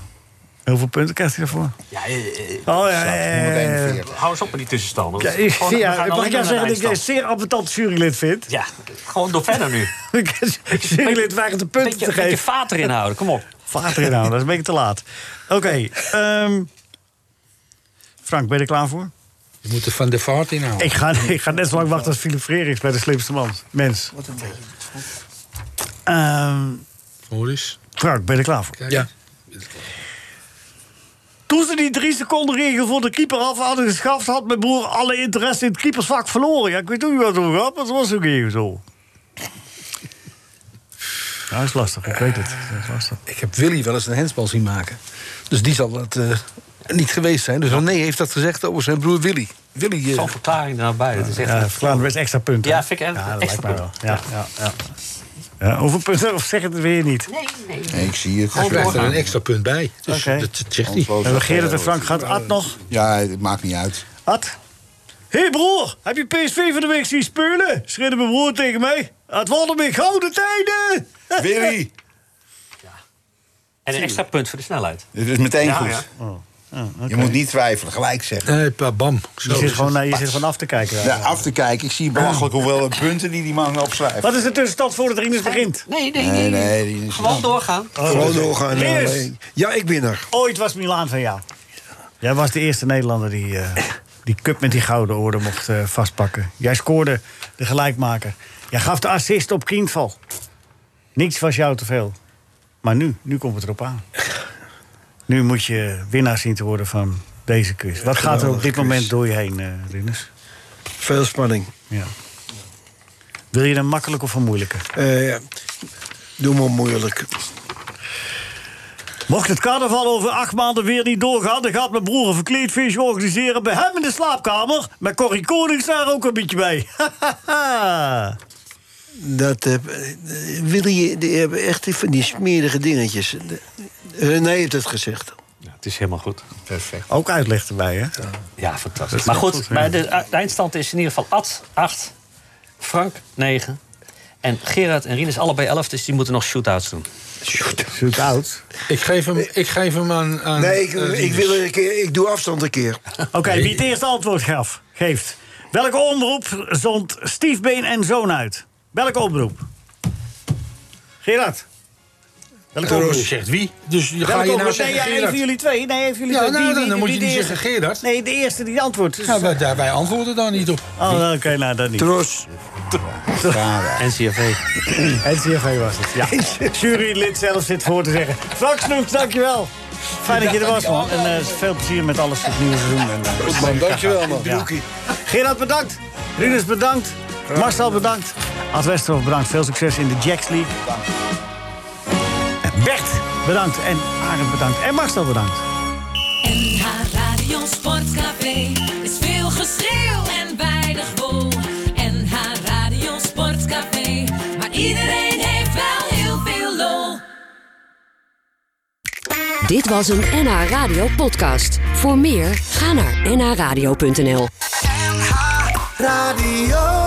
B: Hoeveel punten krijgt hij daarvoor?
C: Ja, eh, eh,
B: Oh ja, ja, ja, ja.
A: 141.
C: hou eens op met die tussenstanden.
B: Ja,
C: Want we
B: ik,
C: gaan
B: ja, mag ik
C: alleen maar
B: jou
C: naar
B: zeggen
C: de
B: dat ik een
C: eindstand.
B: zeer ambetant jurylid vind?
C: Ja, gewoon door verder nu.
B: Ik jurylid weigert de punten
C: Een beetje,
B: te
C: een beetje
B: geven.
C: vater inhouden, kom op.
B: Vader in dat is een beetje te laat. Oké, ehm, Frank, ben je er klaar voor?
E: Je moet er van de vaart inhouden.
B: Ik ga, ik ga net zo lang wachten als Philip Freeriks bij de slimste man. Mens. Ehm, Wat Ehm,
E: Hoor eens.
B: Frank, ben je er klaar voor?
E: Kijk. Ja.
B: Toen ze die drie seconden regel voor de keeper af hadden geschaft... had mijn broer alle interesse in het keepersvak verloren. Ja, ik weet ook niet wat het over gaat, maar het was ook even zo. Ja, dat is lastig, ik weet het. Dat is lastig.
D: Ik heb Willy wel eens een hensbal zien maken. Dus die zal dat eh, niet geweest zijn. Dus nee heeft dat gezegd over zijn broer Willy. Willy eh,
C: Zo'n verklaring daarbij. Dat is echt
B: Ja, Vlaanderen werd extra punten.
C: Ja,
B: hè?
C: vind ik echt-
B: ja, dat
C: extra
B: lijkt mij wel. Ja, ja, ja. Ja, hoeveel punten? Of zeg het weer niet.
A: Nee, ik zie het.
E: Hij krijgt er een extra punt bij. Dus
B: Oké.
E: dat, dat zegt hij.
B: Hebben Gerrit en Frank gaat Ad nog?
A: Ja, het maakt niet uit.
B: Ad? Hé hey broer, heb je PSV van de week zien spelen? Schreeuwde mijn broer tegen mij. Het worden weer gouden tijden!
A: Willy,
C: En een extra punt voor de snelheid.
A: het is meteen
C: Ja,
A: goed.
C: ja.
B: Oh.
A: Je moet niet twijfelen, gelijk zeggen.
E: Nee, Eh, pa, bam.
B: Je
E: Zo.
B: zit gewoon, naar- je zit gewoon af te kijken. ja.
A: Nou, af te kijken, ik zie belachelijk hoeveel punten die die man opschrijft.
B: Wat is de tussenstand voor het rinus begint?
C: Nee, nee,
A: Nee,
C: nee.
A: nee, die is-
C: Gewoon doorgaan.
F: Gewoon doorgaan.
B: Yes.
F: alleen. Ja, ik ben er.
B: Ooit was Milaan van jou. Jij was de eerste Nederlander die eh, die cup met die gouden orde mocht eh, vastpakken. Jij scoorde de gelijkmaker. Jij gaf de assist op Kindval. Niks was jou te veel. Maar nu, nu komt het erop aan. Nu moet je winnaar zien te worden van deze quiz. Wat gaat er op dit moment door je heen, eh Rinus?
F: Veel spanning.
B: Ja. Wil je een makkelijk of een moeilijke?
F: Eh, doe maar moeilijk.
B: Mocht het carnaval over acht maanden weer niet doorgaan... dan gaat mijn broer een verkleedfeestje organiseren bij hem in de slaapkamer. Met Corrie Konings daar ook een beetje bij.
F: Dat, eh, eh, wil je, die hebben echt van die smerige dingetjes. De- René heeft het gezegd.
J: Ja, het is helemaal goed.
B: ook uitleg erbij, hè?
C: Ja, fantastisch. Maar goed, maar de, de eindstand is in ieder geval Ad 8, Frank 9 en Gerard en Rinus allebei 11, dus die moeten nog shootouts doen.
B: Zoet oud.
E: Ik geef hem, ik geef hem aan, aan...
F: Nee, ik,
E: eh,
F: ik, wil een keer, ik doe afstand een keer.
B: Oké, wie het eerste antwoord gaf, geeft. Welke omroep zond Stiefbeen en Zoon uit? Welke omroep? Gerard. Welke
E: Roos
B: omroep?
E: zegt wie? Dus je ga
B: Welke
E: je nou
B: omroep?
E: zeggen
B: nee, ja, een
E: Gerard?
B: van jullie twee. Nee, een van jullie
E: Ja,
B: twee.
E: nou,
B: Wie-
E: dan-
B: wie-
E: dan moet
B: wie
E: je niet
B: de eerste-
E: zeggen Gerard.
B: Nee, de eerste die antwoordt. Dus-
E: Ja, wij, daar- wij antwoorden daar niet op.
B: oh, oké, nou, dat niet.
F: Tros,
C: NCRV.
B: NCRV was het, ja. Jurylid zelf zit voor te zeggen. Frank Snoeks, dankjewel. Fijn dat je er was, man. En eh, veel plezier met alles het nieuwe seizoen. En, eh,
D: Man, dankjewel man.
B: ja. Gerard, bedankt. Rinus, bedankt. Marcel, bedankt. Ad Westerhof, bedankt. Veel succes in de Jacks League. En Bert, bedankt. En Arend, bedankt. En Marcel, bedankt.
G: NH Radio Sportcafé is veel geschreeuw en weinig wol. NH Radio Sportcafé, maar iedereen heeft wel heel veel lol.
K: Dit was een NH Radio podcast. Voor meer, ga naar nhradio.nl.
L: Radio.